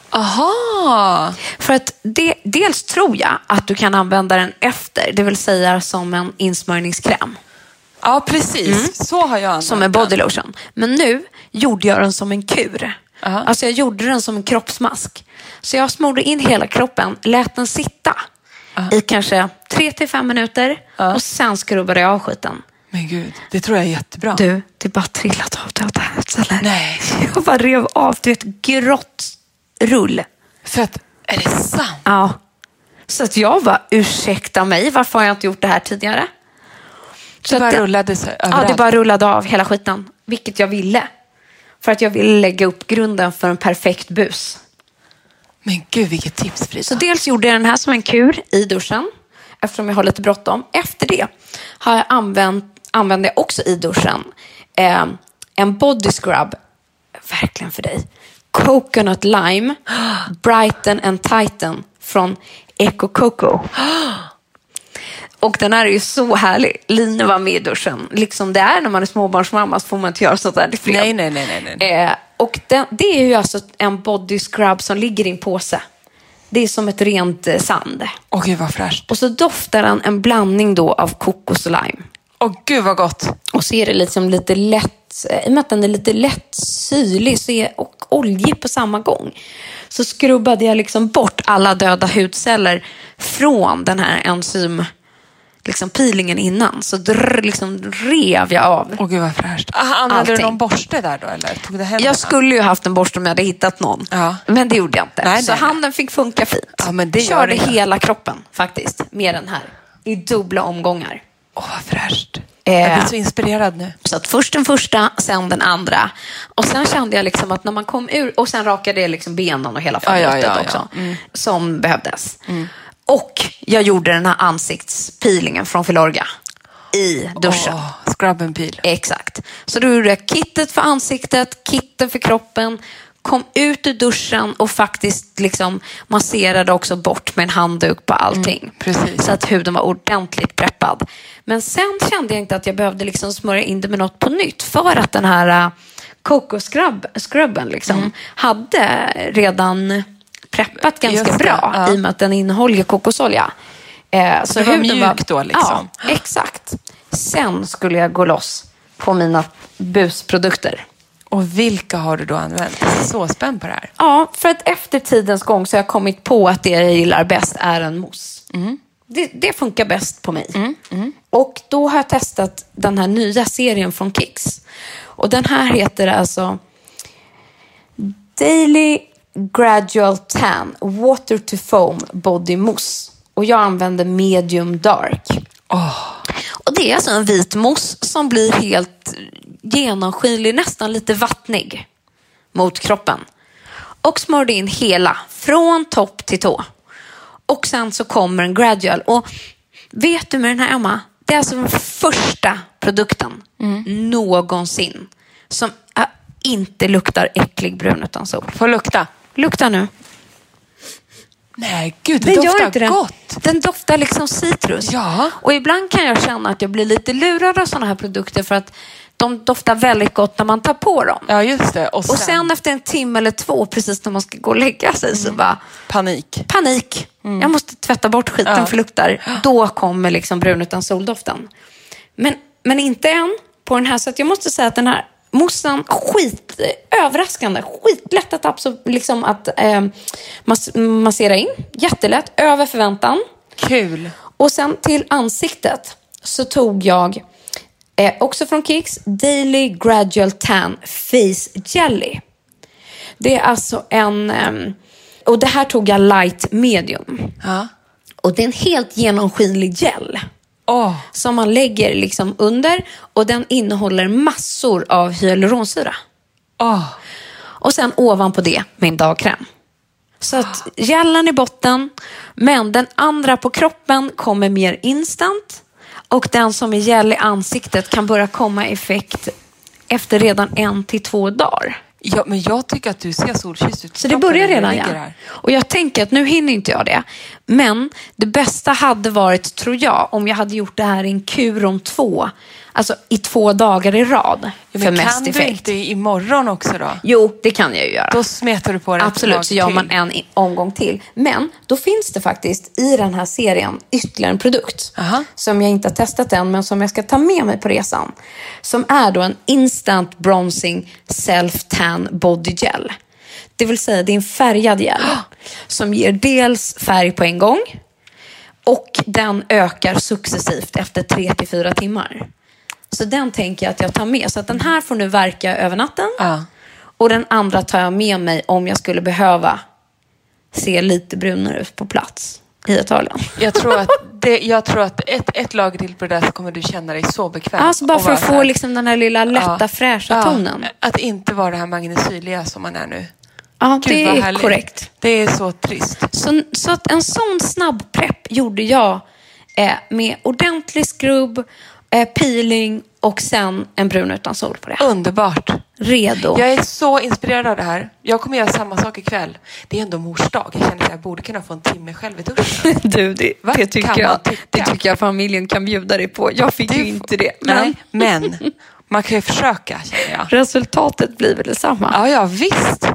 [SPEAKER 3] Aha!
[SPEAKER 2] För att det, dels tror jag att du kan använda den efter, det vill säga som en insmörjningskräm,
[SPEAKER 3] Ja precis, så har jag använt
[SPEAKER 2] Mm. som en
[SPEAKER 3] den.
[SPEAKER 2] body lotion. Men nu gjorde jag den som en kur.
[SPEAKER 3] Aha.
[SPEAKER 2] Alltså jag gjorde den som en kroppsmask. Så jag smorde in hela kroppen, lät den sitta i kanske tre till fem minuter och sen skrubbade jag av skiten.
[SPEAKER 3] Men gud, det tror jag är jättebra.
[SPEAKER 2] Du, det bara trillat av döda hudceller.
[SPEAKER 3] Nej.
[SPEAKER 2] Jag bara rev av, du vet, grått rull.
[SPEAKER 3] För att, är det sant?
[SPEAKER 2] Ja. Så att jag var ursäkta mig, varför har jag inte gjort det här tidigare? Så
[SPEAKER 3] Det bara
[SPEAKER 2] att-
[SPEAKER 3] rullade sig
[SPEAKER 2] Ja,
[SPEAKER 3] överallt.
[SPEAKER 2] det bara rullade av hela skiten. Vilket jag ville. För att jag ville lägga upp grunden för en perfekt bus.
[SPEAKER 3] Men gud vilket tips Frida.
[SPEAKER 2] Så dels gjorde jag den här som en kur i duschen, eftersom jag har lite bråttom. Efter det har jag använt, använde jag också i duschen eh, en body scrub, verkligen för dig, coconut lime, brighten and tighten från Eco Coco. Och den här är ju så härlig. Lina var med i duschen. Liksom det är när man är småbarnsmamma så får man inte göra sånt där. i fred.
[SPEAKER 3] Nej, nej, nej, nej, nej.
[SPEAKER 2] Eh, och den, det är ju alltså en body scrub som ligger i en påse. Det är som ett rent eh, sand.
[SPEAKER 3] Åh gud vad fräscht.
[SPEAKER 2] Och så doftar den en blandning då av kokos och lime.
[SPEAKER 3] Åh gud vad gott.
[SPEAKER 2] Och så är det liksom lite lätt, eh, i och med att den är lite lätt syrlig så är, och oljig på samma gång, så skrubbade jag liksom bort alla döda hudceller från den här enzym liksom peelingen innan. Så drr, liksom rev jag av.
[SPEAKER 3] Åh gud vad fräscht. Ah, använde du
[SPEAKER 2] Allting.
[SPEAKER 3] någon borste där då eller? Tog du händerna?
[SPEAKER 2] Jag skulle ju haft en borste om jag hade hittat någon.
[SPEAKER 3] Ja.
[SPEAKER 2] Men det gjorde jag inte.
[SPEAKER 3] Nej,
[SPEAKER 2] så
[SPEAKER 3] nej, nej.
[SPEAKER 2] handen fick funka fint.
[SPEAKER 3] Ja, men det gör
[SPEAKER 2] Körde
[SPEAKER 3] det.
[SPEAKER 2] hela kroppen faktiskt, med den här. I dubbla omgångar.
[SPEAKER 3] Åh vad fräscht.
[SPEAKER 2] Eh.
[SPEAKER 3] Jag blir så inspirerad nu.
[SPEAKER 2] Så att först den första, sen den andra. Och sen kände jag liksom att när man kom ur, och sen rakade jag liksom benen och hela
[SPEAKER 3] Ja, ja,
[SPEAKER 2] fallrötet
[SPEAKER 3] ja, Mm. ja.
[SPEAKER 2] också. Som behövdes. Och jag gjorde den här ansiktspeelingen från Filorga i duschen.
[SPEAKER 3] Åh, scrub and peel.
[SPEAKER 2] Exakt. Så då gjorde jag kittet för ansiktet, kitten för kroppen, kom ut ur duschen och faktiskt liksom masserade också bort med en handduk på allting.
[SPEAKER 3] Mm, precis.
[SPEAKER 2] Så att huden var ordentligt preppad. Men sen kände jag inte att jag behövde liksom smörja in det med något på nytt för att den här äh, kokoskrubben liksom
[SPEAKER 3] Mm.
[SPEAKER 2] hade redan preppat ganska
[SPEAKER 3] Just det,
[SPEAKER 2] bra
[SPEAKER 3] ja.
[SPEAKER 2] i och med att den innehåller ju kokosolja. Eh, så
[SPEAKER 3] Det var
[SPEAKER 2] huden
[SPEAKER 3] mjuk då, liksom.
[SPEAKER 2] Ja, exakt. Sen skulle jag gå loss på mina busprodukter.
[SPEAKER 3] Och vilka har du då använt? Jag är så spänd på det här.
[SPEAKER 2] Ja, för att efter tidens gång så har jag kommit på att det jag gillar bäst är en mousse. Det, det funkar bäst på mig. Och då har jag testat den här nya serien från Kicks. Och den här heter alltså Daily Gradual Tan Water to Foam Body Mousse. Och jag använder medium dark. Och det är alltså en vit mousse som blir helt genomskinlig, nästan lite vattnig mot kroppen. Och smörjde in hela, från topp till tå. Och sen så kommer en gradual. Och vet du med den här Emma, det är alltså den första produkten
[SPEAKER 3] Mm.
[SPEAKER 2] någonsin som äh, inte luktar äcklig brun utan sol.
[SPEAKER 3] Får lukta.
[SPEAKER 2] Lukta nu.
[SPEAKER 3] Nej, gud det doftar gott.
[SPEAKER 2] Den doftar liksom citrus.
[SPEAKER 3] Ja.
[SPEAKER 2] Och ibland kan jag känna att jag blir lite lurad av sådana här produkter för att de doftar väldigt gott när man tar på dem.
[SPEAKER 3] Ja, just det. Och sen,
[SPEAKER 2] Och sen efter en timme eller två, precis när man ska gå och lägga sig, så
[SPEAKER 3] Mm.
[SPEAKER 2] bara
[SPEAKER 3] panik.
[SPEAKER 2] panik. Jag måste tvätta bort skiten
[SPEAKER 3] Mm. Ja.
[SPEAKER 2] för luktar. Då kommer liksom brun utan soldoften. Men, men inte än på den här, så att jag måste säga att den här Moussan, skit, överraskande, skitlätt att, absor- liksom att eh, mas- massera in. Jättelätt, över förväntan.
[SPEAKER 3] Kul.
[SPEAKER 2] Och sen till ansiktet så tog jag, eh, också från Kicks, Daily Gradual Tan Face Jelly. Det är alltså en, ehm, och det här tog jag light medium.
[SPEAKER 3] Ja.
[SPEAKER 2] Och det är en helt genomskinlig gel
[SPEAKER 3] Åh,
[SPEAKER 2] som man lägger liksom under och den innehåller massor av hyaluronsyra.
[SPEAKER 3] åh.
[SPEAKER 2] Och sen ovanpå det min dagkräm. Så att gelen i botten, men den andra på kroppen kommer mer instant och den som är gel i ansiktet kan börja komma i effekt efter redan en till två dagar.
[SPEAKER 3] Ja, men jag tycker att du ser solkysst ut.
[SPEAKER 2] Så det
[SPEAKER 3] Kroppen
[SPEAKER 2] börjar
[SPEAKER 3] när du
[SPEAKER 2] redan ja.
[SPEAKER 3] ligger här.
[SPEAKER 2] Och jag tänker att nu hinner inte jag det. Men det bästa hade varit, tror jag, om jag hade gjort det här i en kur om två. Alltså i två dagar i rad.
[SPEAKER 3] Ja,
[SPEAKER 2] för
[SPEAKER 3] men kan
[SPEAKER 2] mest
[SPEAKER 3] du
[SPEAKER 2] effekt.
[SPEAKER 3] inte imorgon också då?
[SPEAKER 2] Jo, det kan jag ju göra.
[SPEAKER 3] Då smetar du på det ett slag
[SPEAKER 2] Absolut, så gör man
[SPEAKER 3] till.
[SPEAKER 2] en i- omgång till. Men då finns det faktiskt i den här serien ytterligare en produkt
[SPEAKER 3] Aha.
[SPEAKER 2] som jag inte har testat än, men som jag ska ta med mig på resan. Som är då en Instant Bronzing Self-Tan Body Gel. Det vill säga, det är en färgad gel som ger dels färg på en gång och den ökar successivt efter 3 till 4 timmar. Så den tänker jag att jag tar med. Så att den här får nu verka över natten.
[SPEAKER 3] Ja.
[SPEAKER 2] Och den andra tar jag med mig om jag skulle behöva se lite brunare ut på plats i Italien.
[SPEAKER 3] Jag tror att, det, jag tror att ett, ett lager till på det där så kommer du känna dig så bekväm.
[SPEAKER 2] Alltså bara
[SPEAKER 3] Och
[SPEAKER 2] för att
[SPEAKER 3] vara så
[SPEAKER 2] få
[SPEAKER 3] här-
[SPEAKER 2] liksom den här lilla lätta
[SPEAKER 3] Ja.
[SPEAKER 2] fräscha tonen.
[SPEAKER 3] Att inte vara det här magnesyliga som man är nu.
[SPEAKER 2] Ja,
[SPEAKER 3] Gud, vad
[SPEAKER 2] det är
[SPEAKER 3] härligt.
[SPEAKER 2] korrekt.
[SPEAKER 3] Det är så trist.
[SPEAKER 2] Så, så att en sån snabb prepp gjorde jag eh, med ordentlig skrubb, eh, peeling och sen en brun utan sol på det.
[SPEAKER 3] Underbart.
[SPEAKER 2] Redo.
[SPEAKER 3] Jag är så inspirerad av det här. Jag kommer göra samma sak ikväll. Det är ändå mors dag. Jag känner att jag borde kunna få en timme själv i duschen.
[SPEAKER 2] Du, det,
[SPEAKER 3] Va? Kan man tycka?
[SPEAKER 2] jag familjen kan bjuda dig på. Jag fick
[SPEAKER 3] Det är- Nej, men man kan ju försöka känner jag.
[SPEAKER 2] resultatet blir väl detsamma.
[SPEAKER 3] Ja, ja visst.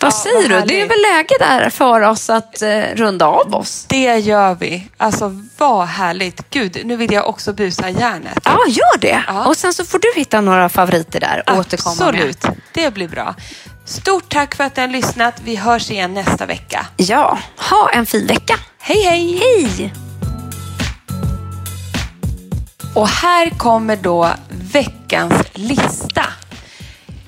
[SPEAKER 2] Vad
[SPEAKER 3] Ja,
[SPEAKER 2] säger du?
[SPEAKER 3] vad
[SPEAKER 2] Det är
[SPEAKER 3] härligt.
[SPEAKER 2] väl läge där för oss att eh, runda av oss?
[SPEAKER 3] Det gör vi. Alltså vad härligt. Gud, nu vill jag också busa järnet.
[SPEAKER 2] Ja, gör det.
[SPEAKER 3] Ja.
[SPEAKER 2] Och sen så får du hitta några favoriter där och återkomma med.
[SPEAKER 3] Absolut, det blir bra. Stort tack för att ni har lyssnat. Vi hörs igen nästa vecka.
[SPEAKER 2] Ja, ha en fin vecka.
[SPEAKER 3] Hej, hej!
[SPEAKER 2] Hej!
[SPEAKER 3] Och här kommer då veckans lista.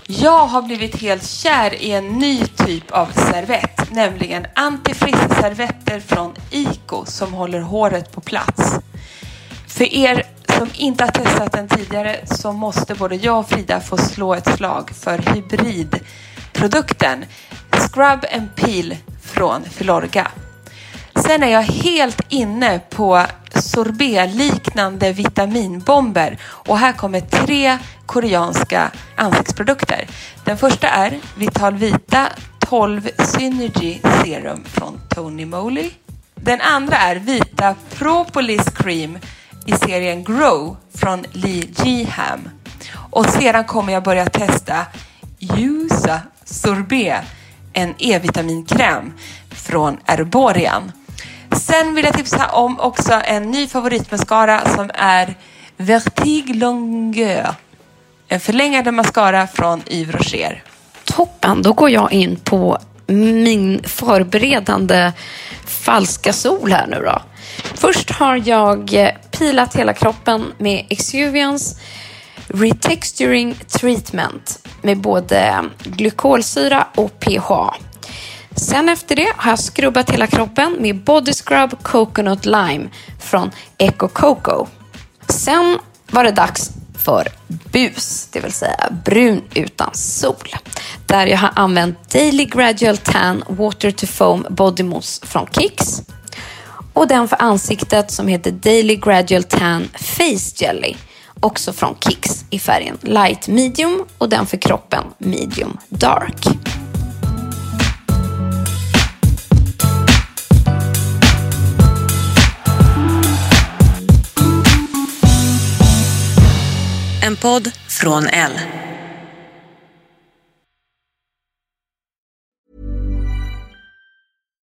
[SPEAKER 3] Jag har blivit helt kär i en ny typ av servett, nämligen antifrizz-servetter från Iko som håller håret på plats. För er som inte har testat den tidigare så måste både jag och Frida få slå ett slag för hybridprodukten Scrub and Peel från Filorga. Sen är jag helt inne på sorbetliknande vitaminbomber och här kommer tre koreanska ansiktsprodukter. Den första är Vital Vita 12 Synergy Serum från Tony Moly. Den andra är Vita Propolis Cream i serien Grow från Lee Jiham. Och sedan kommer jag börja testa Jusa Sorbet, en E-vitaminkräm från Erborian. Sen vill jag tipsa om också en ny favoritmascara som är Vertig Longueur. En förlängande mascara från Yves Rocher.
[SPEAKER 2] Toppen, då går jag in på min förberedande falska sol här nu då. Först har jag eh, pilat hela kroppen med Exuvians Retexturing Treatment med både glykolsyra och PHA. Sen efter det har jag skrubbat hela kroppen med Body Scrub Coconut Lime från Eco Coco. Sen var det dags för BUS, det vill säga brun utan sol. Där jag har använt Daily Gradual Tan Water to Foam Body Mousse från Kicks. Och den för ansiktet som heter Daily Gradual Tan Face Jelly. Också från Kicks i färgen Light Medium och den för kroppen Medium Dark.
[SPEAKER 7] En podd från L.